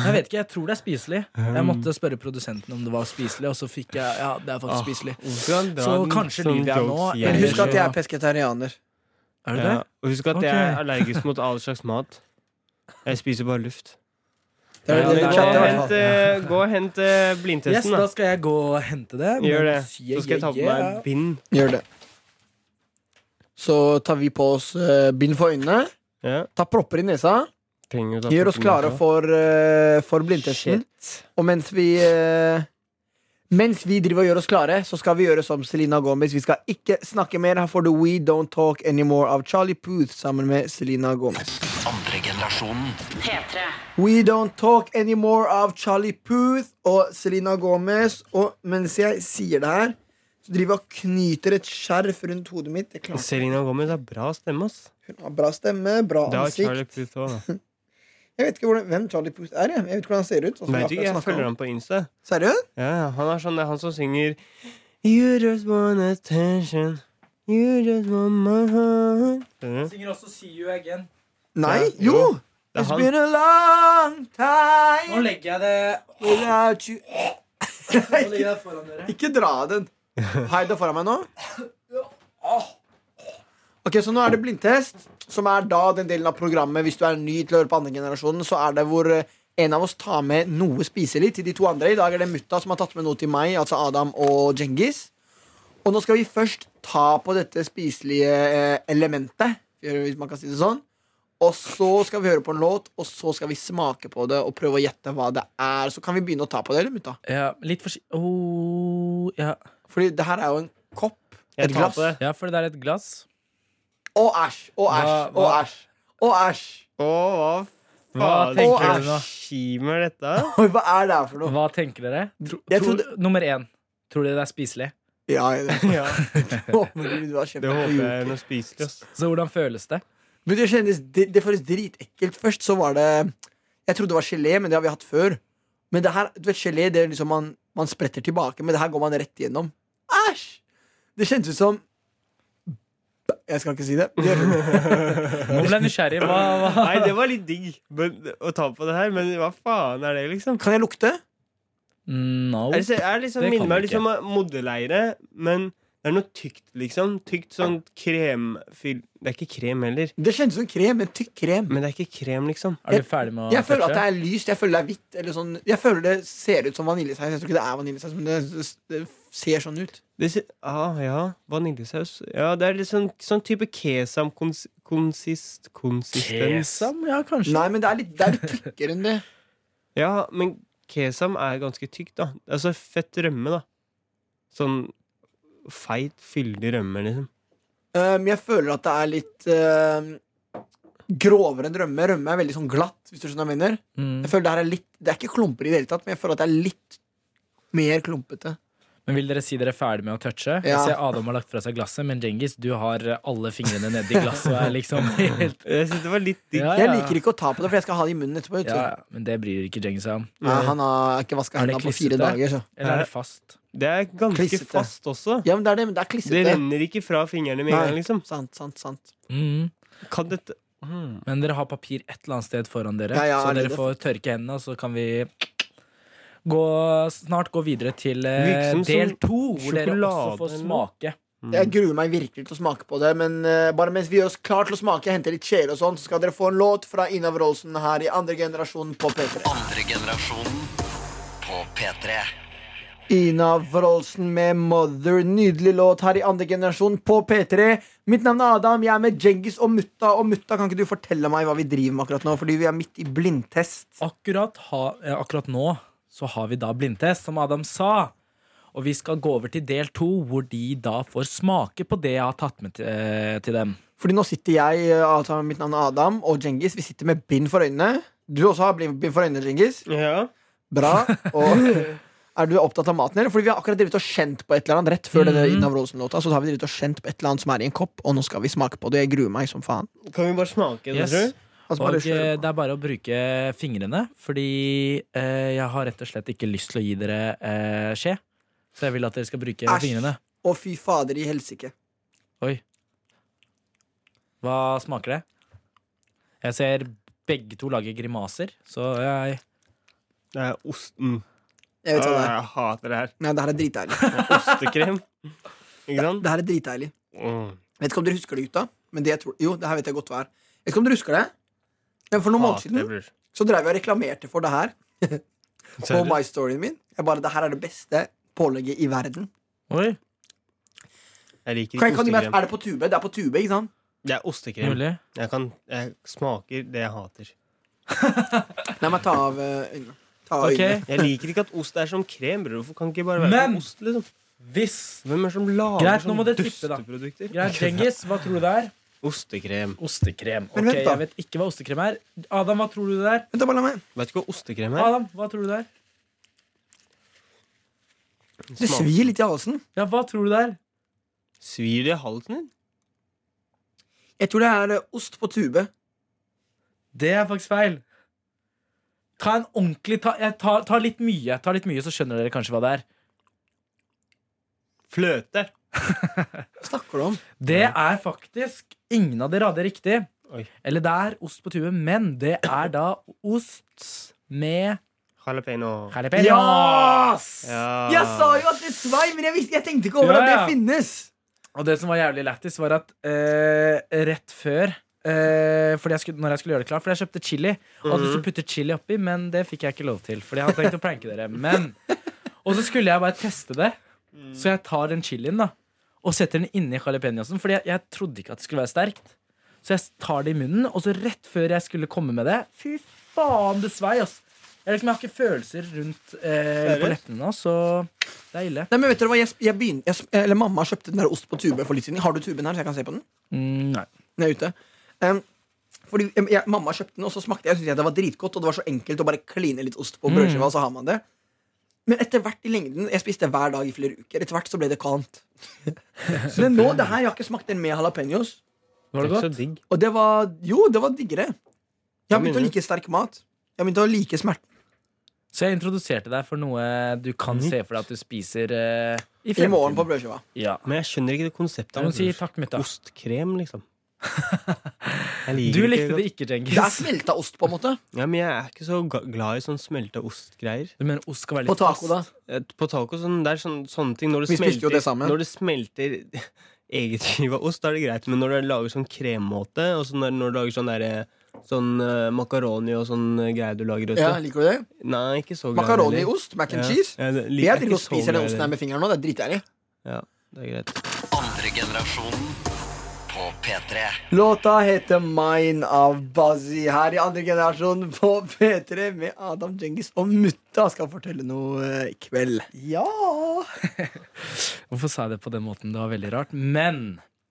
[SPEAKER 3] Jeg vet ikke, jeg tror det er spiselig.
[SPEAKER 4] Um.
[SPEAKER 3] Jeg måtte spørre produsenten om det var spiselig, og så fikk jeg Ja, det er faktisk spiselig. Så kanskje lyver jeg nå,
[SPEAKER 2] Men
[SPEAKER 3] eller-
[SPEAKER 2] husk at jeg er pesketarianer.
[SPEAKER 3] Er det
[SPEAKER 4] ja.
[SPEAKER 3] det?
[SPEAKER 4] Og husk at
[SPEAKER 3] Ok.
[SPEAKER 4] jeg er allergisk mot all slags mat. Jeg spiser bare luft.
[SPEAKER 2] Det er
[SPEAKER 3] Ja,
[SPEAKER 2] det
[SPEAKER 3] men
[SPEAKER 2] du
[SPEAKER 3] det-
[SPEAKER 4] gå,
[SPEAKER 2] chatter, i
[SPEAKER 4] og
[SPEAKER 2] hvert
[SPEAKER 4] hent,
[SPEAKER 2] fall.
[SPEAKER 4] eh, gå og hent eh,
[SPEAKER 3] Yes,
[SPEAKER 4] blindtesten,
[SPEAKER 3] da
[SPEAKER 4] da.
[SPEAKER 3] skal jeg gå og hente det.
[SPEAKER 4] Gjør det.
[SPEAKER 3] mens
[SPEAKER 4] Så skal jeg ta på
[SPEAKER 3] yeah.
[SPEAKER 4] meg bind.
[SPEAKER 2] Gjør det. Så tar vi på oss eh, bind for øynene,
[SPEAKER 4] Ja.
[SPEAKER 2] tar propper i nesa,
[SPEAKER 4] Trenger du ta
[SPEAKER 2] gjør oss
[SPEAKER 4] proppen
[SPEAKER 2] klare
[SPEAKER 4] derfra?
[SPEAKER 2] for, eh, for blindtesten. Og mens vi eh, Mens vi driver og gjør oss klare, så skal vi gjøre som Selena Gomez. Vi skal ikke snakke mer. Her får du We Don't Talk Anymore av Charlie Puth sammen med Selena Gomez.
[SPEAKER 1] Andre generasjonen.
[SPEAKER 8] P3.
[SPEAKER 2] We Don't Talk Anymore av Charlie Puth og Selena Gomez. Og mens jeg sier det her, så driver jeg og knyter et skjerf rundt hodet mitt. Jeg klarer
[SPEAKER 4] Selena Gomez har bra stemme, ass.
[SPEAKER 2] ikke. Hun har bra stemme, bra
[SPEAKER 4] Det har
[SPEAKER 2] ansikt.
[SPEAKER 4] Charlie Puth også, da.
[SPEAKER 2] Jeg vet ikke hvordan, hvem Charlie Puth er. Jeg. jeg vet ikke hvordan han ser ut. sånn som vi
[SPEAKER 4] Vet ikke,
[SPEAKER 2] akkurat
[SPEAKER 4] jeg
[SPEAKER 2] snakket
[SPEAKER 4] følger
[SPEAKER 2] om.
[SPEAKER 4] ham på Insta.
[SPEAKER 2] Seriøst?
[SPEAKER 4] Ja, ja, han er sånn, det er han som synger You just want attention. You just want my heart. Mhm. Skjønner du?
[SPEAKER 3] Synger også See you again.
[SPEAKER 2] Nei?
[SPEAKER 4] Ja,
[SPEAKER 2] Jo!
[SPEAKER 4] jo. Det er
[SPEAKER 2] It's
[SPEAKER 4] han.
[SPEAKER 2] been a long time
[SPEAKER 3] legger jeg det
[SPEAKER 2] without you
[SPEAKER 3] Nå legger jeg det foran dere.
[SPEAKER 2] Ikke dra den. Hei, det foran meg nå. Ok, Så nå er det blindtest, som er da den delen av programmet hvis du er ny til å høre på andre generasjonen, så er det hvor eh, en av oss tar med noe spiselig til de to andre. I dag er det mutta som har tatt med noe til meg, altså Adam og Djengis. Og nå skal vi først ta på dette spiselige eh, elementet, hvis man kan si det sånn. Og så skal vi høre på en låt, og så skal vi smake på det og prøve å gjette hva det er. Så kan vi begynne å ta på det, eller, mutta?
[SPEAKER 3] Ja, litt forsiktig oh, ja.
[SPEAKER 2] Fordi det her er jo en kopp.
[SPEAKER 4] Jeg
[SPEAKER 2] Et
[SPEAKER 4] tar
[SPEAKER 2] glass.
[SPEAKER 4] på det.
[SPEAKER 3] ja, for det er et glass.
[SPEAKER 2] Å, æsj! Å, æsj!
[SPEAKER 3] Hva-
[SPEAKER 2] Å,
[SPEAKER 3] hva-
[SPEAKER 2] æsj! Å, æsj!
[SPEAKER 4] Å, hva
[SPEAKER 3] Hva
[SPEAKER 4] faen
[SPEAKER 2] tenker
[SPEAKER 4] Å,
[SPEAKER 2] du nå?
[SPEAKER 4] Skimer dette?
[SPEAKER 2] Oi, hva er det her for noe?
[SPEAKER 3] Hva tenker dere? Tro,
[SPEAKER 2] Jeg
[SPEAKER 3] tror-
[SPEAKER 2] trodde-
[SPEAKER 3] nummer én. Tror dere det er spiselig?
[SPEAKER 2] Ja, jeg
[SPEAKER 4] ja,
[SPEAKER 2] håper du har kjempet
[SPEAKER 4] det
[SPEAKER 2] på
[SPEAKER 4] håper
[SPEAKER 2] jul.
[SPEAKER 4] jeg er noe spiselig, ass.
[SPEAKER 3] Så hvordan føles det?
[SPEAKER 2] Men det kjennes det, det føles dritekkelt. Først så var det Jeg trodde det var gelé, men det har vi hatt før. Men det her, du vet, gelé det er liksom man, man spretter tilbake, men det her går man rett igjennom. Æsj! Det kjentes ut som Jeg skal ikke si det. Det-
[SPEAKER 3] Nå ble jeg nysgjerrig. Hva, hva?
[SPEAKER 4] Nei, det var litt digg men, å ta på det her, men hva faen er det, liksom?
[SPEAKER 2] Kan jeg lukte?
[SPEAKER 3] No.
[SPEAKER 4] Er det, så- er det liksom,
[SPEAKER 3] Det kan
[SPEAKER 4] minner meg
[SPEAKER 3] du
[SPEAKER 4] litt om modeleire, men det er noe tykt, liksom. Tykt sånn kremfyll Det er ikke krem heller,
[SPEAKER 2] Det kjentes som krem. En tykk krem.
[SPEAKER 4] men det er ikke krem, liksom.
[SPEAKER 3] Er du ferdig med å
[SPEAKER 2] Jeg føler at det
[SPEAKER 3] touche?
[SPEAKER 2] er lyst, jeg føler det er hvitt. Eller sånn, jeg føler det ser ut som vaniljesaus. Jeg tror ikke det er vaniljesaus, men det, det ser sånn ut.
[SPEAKER 4] Det ser, ah, ja, vaniljesaus. Ja, det er litt sånn, sånn type kesam-konsist... Konsistens.
[SPEAKER 3] Kesam? Ja, kanskje.
[SPEAKER 2] Nei, men det er litt, det er litt tykkere enn det.
[SPEAKER 4] Ja, men kesam er ganske tykt, da. Altså fett rømme, da. Sånn feit, fyldig rømme, liksom.
[SPEAKER 2] Um, jeg føler at det er litt um, grovere enn rømme. Rømme er veldig sånn glatt, hvis du skjønner hva jeg mener.
[SPEAKER 3] Mm.
[SPEAKER 2] Jeg føler det her er litt Det er ikke klumper i det hele tatt, men jeg føler at det er litt mer klumpete.
[SPEAKER 3] Men Vil dere si dere er ferdig med å touche? Jeg
[SPEAKER 2] Ja.
[SPEAKER 3] ser Adam har lagt fra seg glasset, men Djengis, du har eh, alle fingrene nedi glasset og er liksom helt
[SPEAKER 4] Jeg synes det var litt digg.
[SPEAKER 3] Ja,
[SPEAKER 2] Jeg
[SPEAKER 3] ja.
[SPEAKER 2] liker ikke å ta på det, for jeg skal ha det i munnen etterpå. vet du.
[SPEAKER 3] ja, ja, Men det bryr ikke Djengis seg om.
[SPEAKER 2] Nei, han har ikke vaska
[SPEAKER 3] Er det
[SPEAKER 2] hendene på fire
[SPEAKER 3] klissete?
[SPEAKER 2] dager. Så.
[SPEAKER 3] Eller er det fast?
[SPEAKER 4] Det er ganske
[SPEAKER 2] Klissete.
[SPEAKER 4] fast også.
[SPEAKER 2] Ja, men det er det, men det er
[SPEAKER 4] Det
[SPEAKER 2] klissete.
[SPEAKER 4] renner ikke fra fingrene med en gang, liksom.
[SPEAKER 2] Sant, sant, sant.
[SPEAKER 3] Mm.
[SPEAKER 4] Kan dette hmm.
[SPEAKER 3] Men dere har papir et eller annet sted foran dere,
[SPEAKER 2] Ja, ja,
[SPEAKER 3] så
[SPEAKER 2] det-
[SPEAKER 3] dere får tørke hendene, og så kan vi gå, snart gå videre til eh,
[SPEAKER 4] Virker som
[SPEAKER 3] del
[SPEAKER 4] sånn
[SPEAKER 3] to, hvor dere også
[SPEAKER 4] sjokolade
[SPEAKER 3] får
[SPEAKER 4] eller noe.
[SPEAKER 3] smake.
[SPEAKER 2] Jeg gruer meg virkelig til å smake på det, men eh, bare mens vi gjør oss klar til å smake, jeg henter litt kjele og sånn, så skal dere få en låt fra Ina Wroldsen her i andre generasjon på P3.
[SPEAKER 1] Andre generasjonen på P3.
[SPEAKER 2] Ina Wroldsen med 'Mother'. Nydelig låt her i andre generasjon på P3. Mitt navn er Adam. Jeg er med Djengis og Mutta. Og Mutta, kan ikke du fortelle meg hva vi driver med akkurat nå? Fordi vi er midt i blindtest.
[SPEAKER 3] Akkurat, ha, eh, akkurat nå så har vi da blindtest, som Adam sa. Og vi skal gå over til del to, hvor de da får smake på det jeg har tatt med til, eh, til dem.
[SPEAKER 2] Fordi nå sitter jeg, eh, altså mitt navn er Adam, og Djengis, vi sitter med bind for øynene. Du også har bind bind for øynene, Djengis.
[SPEAKER 4] Ja.
[SPEAKER 2] Bra. Og er du opptatt av maten, eller? Fordi vi har akkurat drevet og kjent på et eller annet rett før denne
[SPEAKER 3] Mhm.
[SPEAKER 2] Ina Wroldsen-låta. Så har vi drevet og kjent på et eller annet som er i en kopp, og nå skal vi smake på det. Jeg gruer meg som faen.
[SPEAKER 4] Kan vi bare smake det,
[SPEAKER 3] Yes.
[SPEAKER 4] tror du?
[SPEAKER 2] Altså,
[SPEAKER 3] Og
[SPEAKER 2] bare
[SPEAKER 3] eh,
[SPEAKER 2] kjør på.
[SPEAKER 3] det er bare å bruke fingrene, fordi eh, jeg har rett og slett ikke lyst til å gi dere eh, skje. Så jeg vil at dere skal bruke
[SPEAKER 2] Æsj.
[SPEAKER 3] fingrene.
[SPEAKER 2] Å, fy fader i helsike.
[SPEAKER 3] Hva smaker det? Jeg ser begge to lager grimaser, så jeg
[SPEAKER 4] Det er osten.
[SPEAKER 2] Jeg vet hva
[SPEAKER 3] Ah.
[SPEAKER 2] det er.
[SPEAKER 4] jeg hater det her.
[SPEAKER 2] Nei, det her er dritdeilig.
[SPEAKER 4] Ostekrem. Ikke sant?
[SPEAKER 2] Det her er dritdeilig.
[SPEAKER 4] Mm.
[SPEAKER 2] Vet ikke om dere husker det, gutta. Men det jeg tror, jo, det her vet jeg godt hva er. Jeg vet ikke om dere husker det. Men for noen
[SPEAKER 3] Ah,
[SPEAKER 2] måneder
[SPEAKER 4] Hater det,
[SPEAKER 2] siden
[SPEAKER 4] bror.
[SPEAKER 2] så drev jeg og reklamerte for det her på My Storyen min. Jeg bare, Det her er det beste pålegget i verden.
[SPEAKER 3] Oi,
[SPEAKER 4] Jeg liker
[SPEAKER 2] Kan,
[SPEAKER 4] ikke
[SPEAKER 2] kan du,
[SPEAKER 4] ostekrem.
[SPEAKER 2] er det på tube? Det er på tube, ikke sant?
[SPEAKER 4] Det er ostekrem.
[SPEAKER 3] mulig.
[SPEAKER 4] Jeg, kan, jeg smaker det jeg hater.
[SPEAKER 2] Nei, men ta av eh, øynene. Ta av
[SPEAKER 3] Ok,
[SPEAKER 2] øynene.
[SPEAKER 4] Jeg liker ikke at ost er som krem, bror. Hvorfor kan det ikke bare være
[SPEAKER 3] Men-
[SPEAKER 4] som ost, liksom?
[SPEAKER 3] hvis
[SPEAKER 4] Hvem er det som lager
[SPEAKER 3] Greit, nå må
[SPEAKER 4] sånne
[SPEAKER 3] dere tippe, da.
[SPEAKER 4] dusteprodukter?
[SPEAKER 3] Greit, Djengis, hva tror du det er?
[SPEAKER 4] Ostekrem.
[SPEAKER 3] Ostekrem.
[SPEAKER 2] Men
[SPEAKER 3] Ok,
[SPEAKER 2] vent da.
[SPEAKER 3] jeg vet ikke hva ostekrem er. Adam, hva tror du det er?
[SPEAKER 2] Vent, da, bare la meg.
[SPEAKER 4] Vet du ikke hva ostekrem er?
[SPEAKER 3] Adam, hva tror du det er?
[SPEAKER 2] Det svir litt i halsen.
[SPEAKER 3] Ja, hva tror du det er?
[SPEAKER 4] Svir det i halsen din?
[SPEAKER 2] Jeg tror det er eh, ost på tube.
[SPEAKER 3] Det er faktisk feil. Ta en ordentlig ta, Jeg tar, tar litt mye, jeg tar litt mye, så skjønner dere kanskje hva det er.
[SPEAKER 4] Fløte.
[SPEAKER 2] Hva snakker du om?
[SPEAKER 3] Det er faktisk Ingen av dere hadde riktig.
[SPEAKER 4] Oi.
[SPEAKER 3] Eller det er ost på tue, men det er da ost med
[SPEAKER 4] Jalapeño.
[SPEAKER 3] jalapeños!
[SPEAKER 4] Ja.
[SPEAKER 2] Jeg sa jo at det svei, men jeg, visste, jeg tenkte ikke over
[SPEAKER 3] Ja,
[SPEAKER 2] at det
[SPEAKER 3] ja.
[SPEAKER 2] finnes.
[SPEAKER 3] Og det som var jævlig lættis, var at eh, rett før eh, fordi jeg skulle, Når jeg skulle gjøre det klart, for jeg kjøpte chili. Og hadde lyst til å putte chili oppi, men det fikk jeg ikke lov til. Fordi jeg hadde tenkt å pranke dere Men Og så skulle jeg bare teste det, så jeg tar den chilien da og setter den inni jalapeñosen. Fordi jeg, jeg trodde ikke at det skulle være sterkt. Så jeg tar det i munnen, og så rett før jeg skulle komme med det Fy faen, det svei, ass. Jeg, liksom, jeg har ikke følelser rundt eh, på leppene nå, så det er ille.
[SPEAKER 2] Nei, men vet dere hva, jeg, jeg begyn- jeg, eller Mamma kjøpte den der ost på tube for litt siden. Har du tuben her, så jeg kan se på den?
[SPEAKER 3] Mm, nei.
[SPEAKER 2] Den er ute. Em, fordi em, jeg, Mamma kjøpte den, og så smakte jeg, synes jeg det var dritgodt. Og det var så enkelt å bare kline litt ost
[SPEAKER 3] Mm.
[SPEAKER 2] på brødskiva, og så har man det. Men etter hvert i lengden Jeg spiste hver dag i flere uker. Etter hvert så ble det kvalmt. Men nå, det her, jeg har ikke smakt den med jalapeños.
[SPEAKER 3] Var
[SPEAKER 4] Det er
[SPEAKER 3] det godt?
[SPEAKER 4] ikke så digg.
[SPEAKER 2] Og det var Jo, det var diggere. Jeg har
[SPEAKER 4] Jeg
[SPEAKER 2] begynt å
[SPEAKER 4] mener.
[SPEAKER 2] like sterk mat. Jeg har begynt å like smerten.
[SPEAKER 3] Så jeg introduserte deg for noe du kan se for deg at du spiser eh, i
[SPEAKER 2] I morgen på
[SPEAKER 3] fremtiden.
[SPEAKER 2] brødskiva.
[SPEAKER 3] Ja.
[SPEAKER 4] Men jeg skjønner ikke det konseptet.
[SPEAKER 3] Da må
[SPEAKER 4] her,
[SPEAKER 3] du si
[SPEAKER 4] bror.
[SPEAKER 3] takk, mutta.
[SPEAKER 4] Ostkrem, liksom. Jeg
[SPEAKER 3] Du
[SPEAKER 4] liker
[SPEAKER 3] likte
[SPEAKER 4] godt.
[SPEAKER 3] det ikke,
[SPEAKER 2] Det er
[SPEAKER 3] Djengis.
[SPEAKER 2] smelta ost, på en måte.
[SPEAKER 4] Ja, men jeg er ikke så ga- glad i sånn smelta ostgreier.
[SPEAKER 3] Du mener ost skal være
[SPEAKER 2] På
[SPEAKER 3] litt
[SPEAKER 2] taco, da.
[SPEAKER 4] Eh, På taco sånn, det er sånn, sånne ting når det
[SPEAKER 2] Vi spiste
[SPEAKER 4] smelter,
[SPEAKER 2] jo det sammen.
[SPEAKER 4] Når det smelter eget skive av ost, da er det greit. Men når du lager sånn kremmåte, og så når, når du lager sånn derre Sånn eh, makaroni og sånn eh, greier du lager, vet du.
[SPEAKER 2] Ja, Liker du det?
[SPEAKER 4] Nei, ikke så glad
[SPEAKER 2] Makaroni,
[SPEAKER 4] heller.
[SPEAKER 2] ost, mac and
[SPEAKER 4] Ja.
[SPEAKER 2] cheese.
[SPEAKER 4] Ja, det- liker
[SPEAKER 2] Jeg
[SPEAKER 4] ikke
[SPEAKER 2] driver og
[SPEAKER 4] så
[SPEAKER 2] spiser den
[SPEAKER 4] glad
[SPEAKER 2] osten
[SPEAKER 4] i
[SPEAKER 2] her
[SPEAKER 4] det.
[SPEAKER 2] med fingeren nå. Det er dritdeilig.
[SPEAKER 4] Ja, det er greit.
[SPEAKER 1] Andre generasjonen på P3.
[SPEAKER 2] Låta heter Mine av Bazzi her i andre generasjon på P3 med Adam Djengis og Mutta skal fortelle noe eh, i kveld.
[SPEAKER 3] Ja! Hvorfor sa jeg det på den måten? Det var veldig rart. Men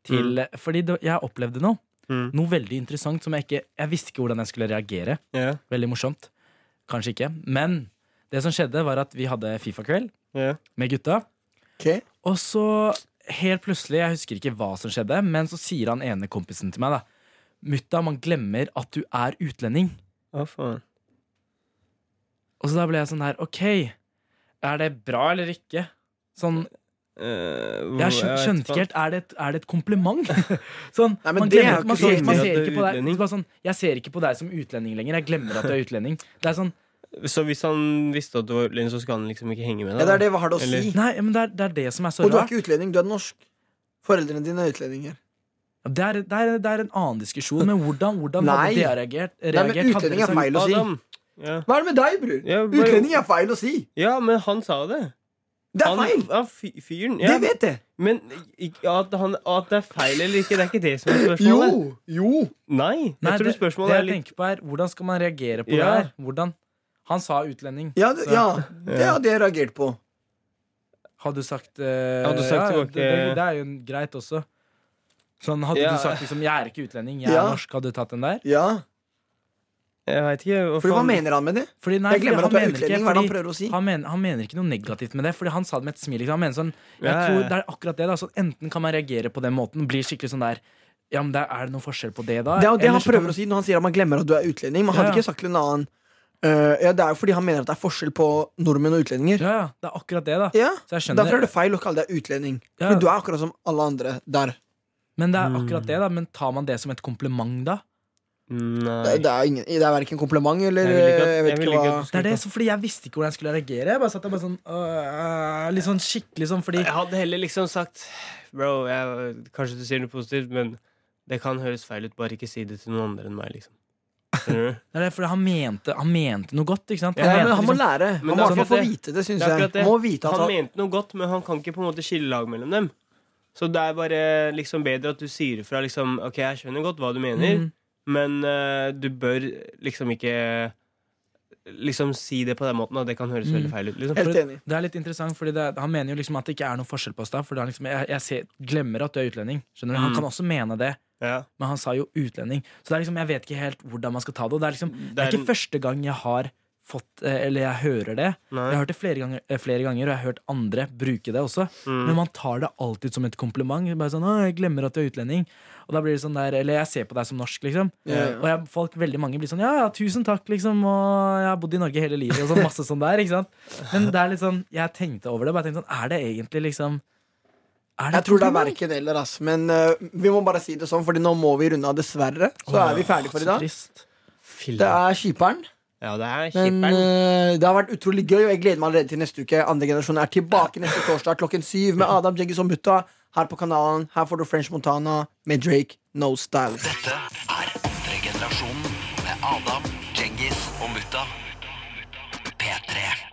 [SPEAKER 3] til
[SPEAKER 2] Mm.
[SPEAKER 3] Fordi det, jeg opplevde noe.
[SPEAKER 4] Mm.
[SPEAKER 3] Noe veldig interessant som jeg ikke Jeg visste ikke hvordan jeg skulle reagere.
[SPEAKER 4] Ja,
[SPEAKER 3] Veldig morsomt. Kanskje ikke. Men det som skjedde, var at vi hadde Fifa-kveld
[SPEAKER 4] ja.
[SPEAKER 3] med gutta.
[SPEAKER 2] Ok?
[SPEAKER 3] Og så helt plutselig, jeg husker ikke hva som skjedde, men så sier han ene kompisen til meg da Mutta, man glemmer at du er utlending.
[SPEAKER 4] Å, faen.
[SPEAKER 3] Og så da ble jeg sånn her, ok, er det bra eller ikke? Sånn,
[SPEAKER 4] Eh,
[SPEAKER 2] Mm,
[SPEAKER 3] jeg skjøn- skjønte ikke helt, er det et, er det et kompliment? sånn,
[SPEAKER 2] Nei, men
[SPEAKER 3] man
[SPEAKER 2] det er
[SPEAKER 3] glemmer
[SPEAKER 2] jo
[SPEAKER 3] at man
[SPEAKER 2] ikke
[SPEAKER 3] ser, ikke- man
[SPEAKER 4] riktig.
[SPEAKER 3] ser
[SPEAKER 4] At du er
[SPEAKER 3] ikke på deg
[SPEAKER 4] utlending.
[SPEAKER 3] bare sånn, Jeg ser ikke på deg som utlending lenger, jeg glemmer at du er utlending. Det er sånn,
[SPEAKER 4] Så hvis han visste at du var utlending, så skulle han liksom ikke henge med deg?
[SPEAKER 2] Ja, det
[SPEAKER 4] da?
[SPEAKER 2] er det. Hva har det å
[SPEAKER 4] Eller-
[SPEAKER 2] si?
[SPEAKER 3] nei, men det er det, er det som er så
[SPEAKER 2] Og du er
[SPEAKER 3] rart.
[SPEAKER 2] ikke utlending, du er norsk. Foreldrene dine er utlendinger.
[SPEAKER 3] Det er, det, er, det er en annen diskusjon, men hvordan, hvordan
[SPEAKER 2] Nei.
[SPEAKER 3] hadde de reagert?
[SPEAKER 2] Nei, men
[SPEAKER 3] reagert? Hadde dere
[SPEAKER 2] utlending er
[SPEAKER 3] sagt-
[SPEAKER 2] feil å si.
[SPEAKER 4] Adam! Ja.
[SPEAKER 2] Hva er det med deg, bror?
[SPEAKER 4] Ja, bare-
[SPEAKER 2] Utlending er feil å si.
[SPEAKER 4] ja, men han sa det.
[SPEAKER 2] Det er
[SPEAKER 4] Han-
[SPEAKER 2] feil!
[SPEAKER 4] Ja, fy- fyren.
[SPEAKER 2] Det
[SPEAKER 4] Ja.
[SPEAKER 2] vet jeg!
[SPEAKER 4] Men ikke- at, han, at det er feil eller ikke, det er ikke det som er spørsmålet.
[SPEAKER 2] Jo! Jo!
[SPEAKER 4] Nei, jeg
[SPEAKER 3] Nei,
[SPEAKER 4] tror
[SPEAKER 3] det, det
[SPEAKER 4] spørsmålet er
[SPEAKER 3] jeg
[SPEAKER 4] litt
[SPEAKER 3] tenker på er hvordan skal man reagere på det
[SPEAKER 4] Ja.
[SPEAKER 3] her? Hvordan? Han sa utlending.
[SPEAKER 2] Ja, det,
[SPEAKER 3] Så-
[SPEAKER 2] ja, det hadde jeg reagert på.
[SPEAKER 3] Hadde du sagt, eh,
[SPEAKER 4] Hadde du sagt
[SPEAKER 3] ja,
[SPEAKER 4] tilbake-
[SPEAKER 3] det, det, det er jo greit også. Sånn, hadde
[SPEAKER 4] Ja.
[SPEAKER 3] du sagt liksom 'jeg er ikke utlending, jeg er
[SPEAKER 2] Ja.
[SPEAKER 3] norsk', hadde du tatt den der?
[SPEAKER 2] Ja,
[SPEAKER 4] Jeg vet ikke hva
[SPEAKER 2] for Hva
[SPEAKER 4] faen-
[SPEAKER 2] mener han med det?
[SPEAKER 3] Fordi, nei,
[SPEAKER 2] Jeg glemmer
[SPEAKER 3] fordi
[SPEAKER 2] at du er
[SPEAKER 3] han mener
[SPEAKER 2] utlending. Hva er
[SPEAKER 3] ikke-
[SPEAKER 2] det
[SPEAKER 3] fordi-
[SPEAKER 2] han prøver å si?
[SPEAKER 3] Han mener, han mener ikke noe negativt med det, Fordi han sa det med et smil. Ikke? sant? Han mener sånn, jeg
[SPEAKER 4] Ja, ja,
[SPEAKER 3] tror
[SPEAKER 4] ja.
[SPEAKER 3] det er akkurat det da så Enten kan man reagere på den måten, bli skikkelig sånn der Ja, men der, Er det noen forskjell på det, da?
[SPEAKER 2] Det er jo det
[SPEAKER 3] Eller
[SPEAKER 2] han
[SPEAKER 3] så
[SPEAKER 2] prøver
[SPEAKER 3] kan-
[SPEAKER 2] å si når han sier at man glemmer at du er utlending. Man hadde
[SPEAKER 3] Ja.
[SPEAKER 2] ikke sagt til en annen eh, Ja, Det er jo fordi han mener at det er forskjell på nordmenn og utlendinger.
[SPEAKER 3] Ja, ja, det er akkurat det, da.
[SPEAKER 2] Ja,
[SPEAKER 3] Så jeg skjønner
[SPEAKER 2] Derfor er det feil å kalle deg utlending.
[SPEAKER 3] Ja.
[SPEAKER 2] For du er Mm. akkurat som alle andre der.
[SPEAKER 3] Men det er akkurat det, da. Men tar man det som et kompliment, da?
[SPEAKER 2] Det,
[SPEAKER 4] Nei.
[SPEAKER 2] det er, ingen, det er verken kompliment eller eh,
[SPEAKER 4] Jeg vil ikke
[SPEAKER 2] Jeg
[SPEAKER 4] at- jeg
[SPEAKER 2] vet
[SPEAKER 4] vil
[SPEAKER 2] ikke hva
[SPEAKER 4] ikke at du
[SPEAKER 3] Det
[SPEAKER 4] skal
[SPEAKER 3] er det, så fordi Jeg visste ikke hvordan jeg skulle reagere. Jeg bare satt der bare sånn øh, Litt sånn skikkelig sånn fordi
[SPEAKER 4] Jeg hadde heller liksom sagt Bro, jeg, kanskje du sier noe positivt, men det kan høres feil ut. Bare ikke si det til noen andre enn meg, liksom. Skjønner du?
[SPEAKER 3] Det er det, fordi han mente, han mente noe godt, ikke sant?
[SPEAKER 2] ja, men
[SPEAKER 3] mente
[SPEAKER 2] Han må
[SPEAKER 3] liksom-
[SPEAKER 2] lære.
[SPEAKER 4] Men
[SPEAKER 2] Han
[SPEAKER 4] det
[SPEAKER 2] må
[SPEAKER 4] er
[SPEAKER 2] i hvert fall få
[SPEAKER 4] akkurat
[SPEAKER 2] vite det,
[SPEAKER 4] Det
[SPEAKER 2] syns
[SPEAKER 4] er
[SPEAKER 2] jeg.
[SPEAKER 4] akkurat det.
[SPEAKER 2] Han Må vite at
[SPEAKER 4] Han
[SPEAKER 2] han,
[SPEAKER 4] mente noe godt, men han kan ikke på en måte skille lag mellom dem. Så det er bare liksom bedre at du sier ifra liksom OK, jeg skjønner godt hva du mener,
[SPEAKER 3] Mm.
[SPEAKER 4] men eh, du bør liksom ikke Liksom si det på den måten, og det kan høres veldig feil ut. Liksom.
[SPEAKER 2] Helt enig.
[SPEAKER 3] Det er litt interessant, fordi det, er- Han mener jo liksom at det ikke er noen forskjell på oss da. Fordi han liksom, jeg, jeg ser, glemmer at du er utlending. Skjønner du? Han
[SPEAKER 4] Mm.
[SPEAKER 3] kan også mene det,
[SPEAKER 4] Ja.
[SPEAKER 3] men han sa jo utlending. Så det er liksom, jeg vet ikke helt hvordan man skal ta det. Og det er liksom,
[SPEAKER 2] Mm,
[SPEAKER 3] det
[SPEAKER 4] Det er
[SPEAKER 3] er
[SPEAKER 4] en-
[SPEAKER 3] ikke første gang jeg har fått eh, Eller jeg hører det.
[SPEAKER 4] Nei.
[SPEAKER 3] Jeg har hørt det flere ganger, eh, flere ganger og jeg har hørt andre bruke det også.
[SPEAKER 4] Mm.
[SPEAKER 3] Men man tar det alltid som et kompliment. Bare sånn, «Å, jeg glemmer at du er utlending Og da blir det sånn der, Eller jeg ser på deg som norsk, liksom.
[SPEAKER 2] Ja, ja.
[SPEAKER 3] Og jeg, folk, veldig mange blir sånn Ja, ja, tusen takk, liksom. Og jeg har bodd i Norge hele livet. Og sånn masse sånn der, ikke sant? Men det er litt sånn, jeg tenkte over det. Bare tenkte sånn, Er det egentlig liksom er
[SPEAKER 2] Jeg tror det er
[SPEAKER 3] kompliment?
[SPEAKER 2] verken eller, ass. Men eh, vi må bare si det sånn, Fordi nå må vi runde av, dessverre. Så er vi ferdige for i
[SPEAKER 3] Så
[SPEAKER 2] dag.
[SPEAKER 3] trist.
[SPEAKER 4] Filler.
[SPEAKER 2] Det er Skiperen.
[SPEAKER 4] Ja, det er
[SPEAKER 2] Men
[SPEAKER 4] skipperen.
[SPEAKER 2] eh, det har vært utrolig gøy, og jeg gleder meg allerede til neste uke. Andre generasjon er tilbake neste torsdag klokken syv med Adam Jeggis og Mutta her på kanalen. Her får du French Montana med Drake No Style.
[SPEAKER 1] Dette er andre generasjonen med Adam, Djengis og Mutta. P3.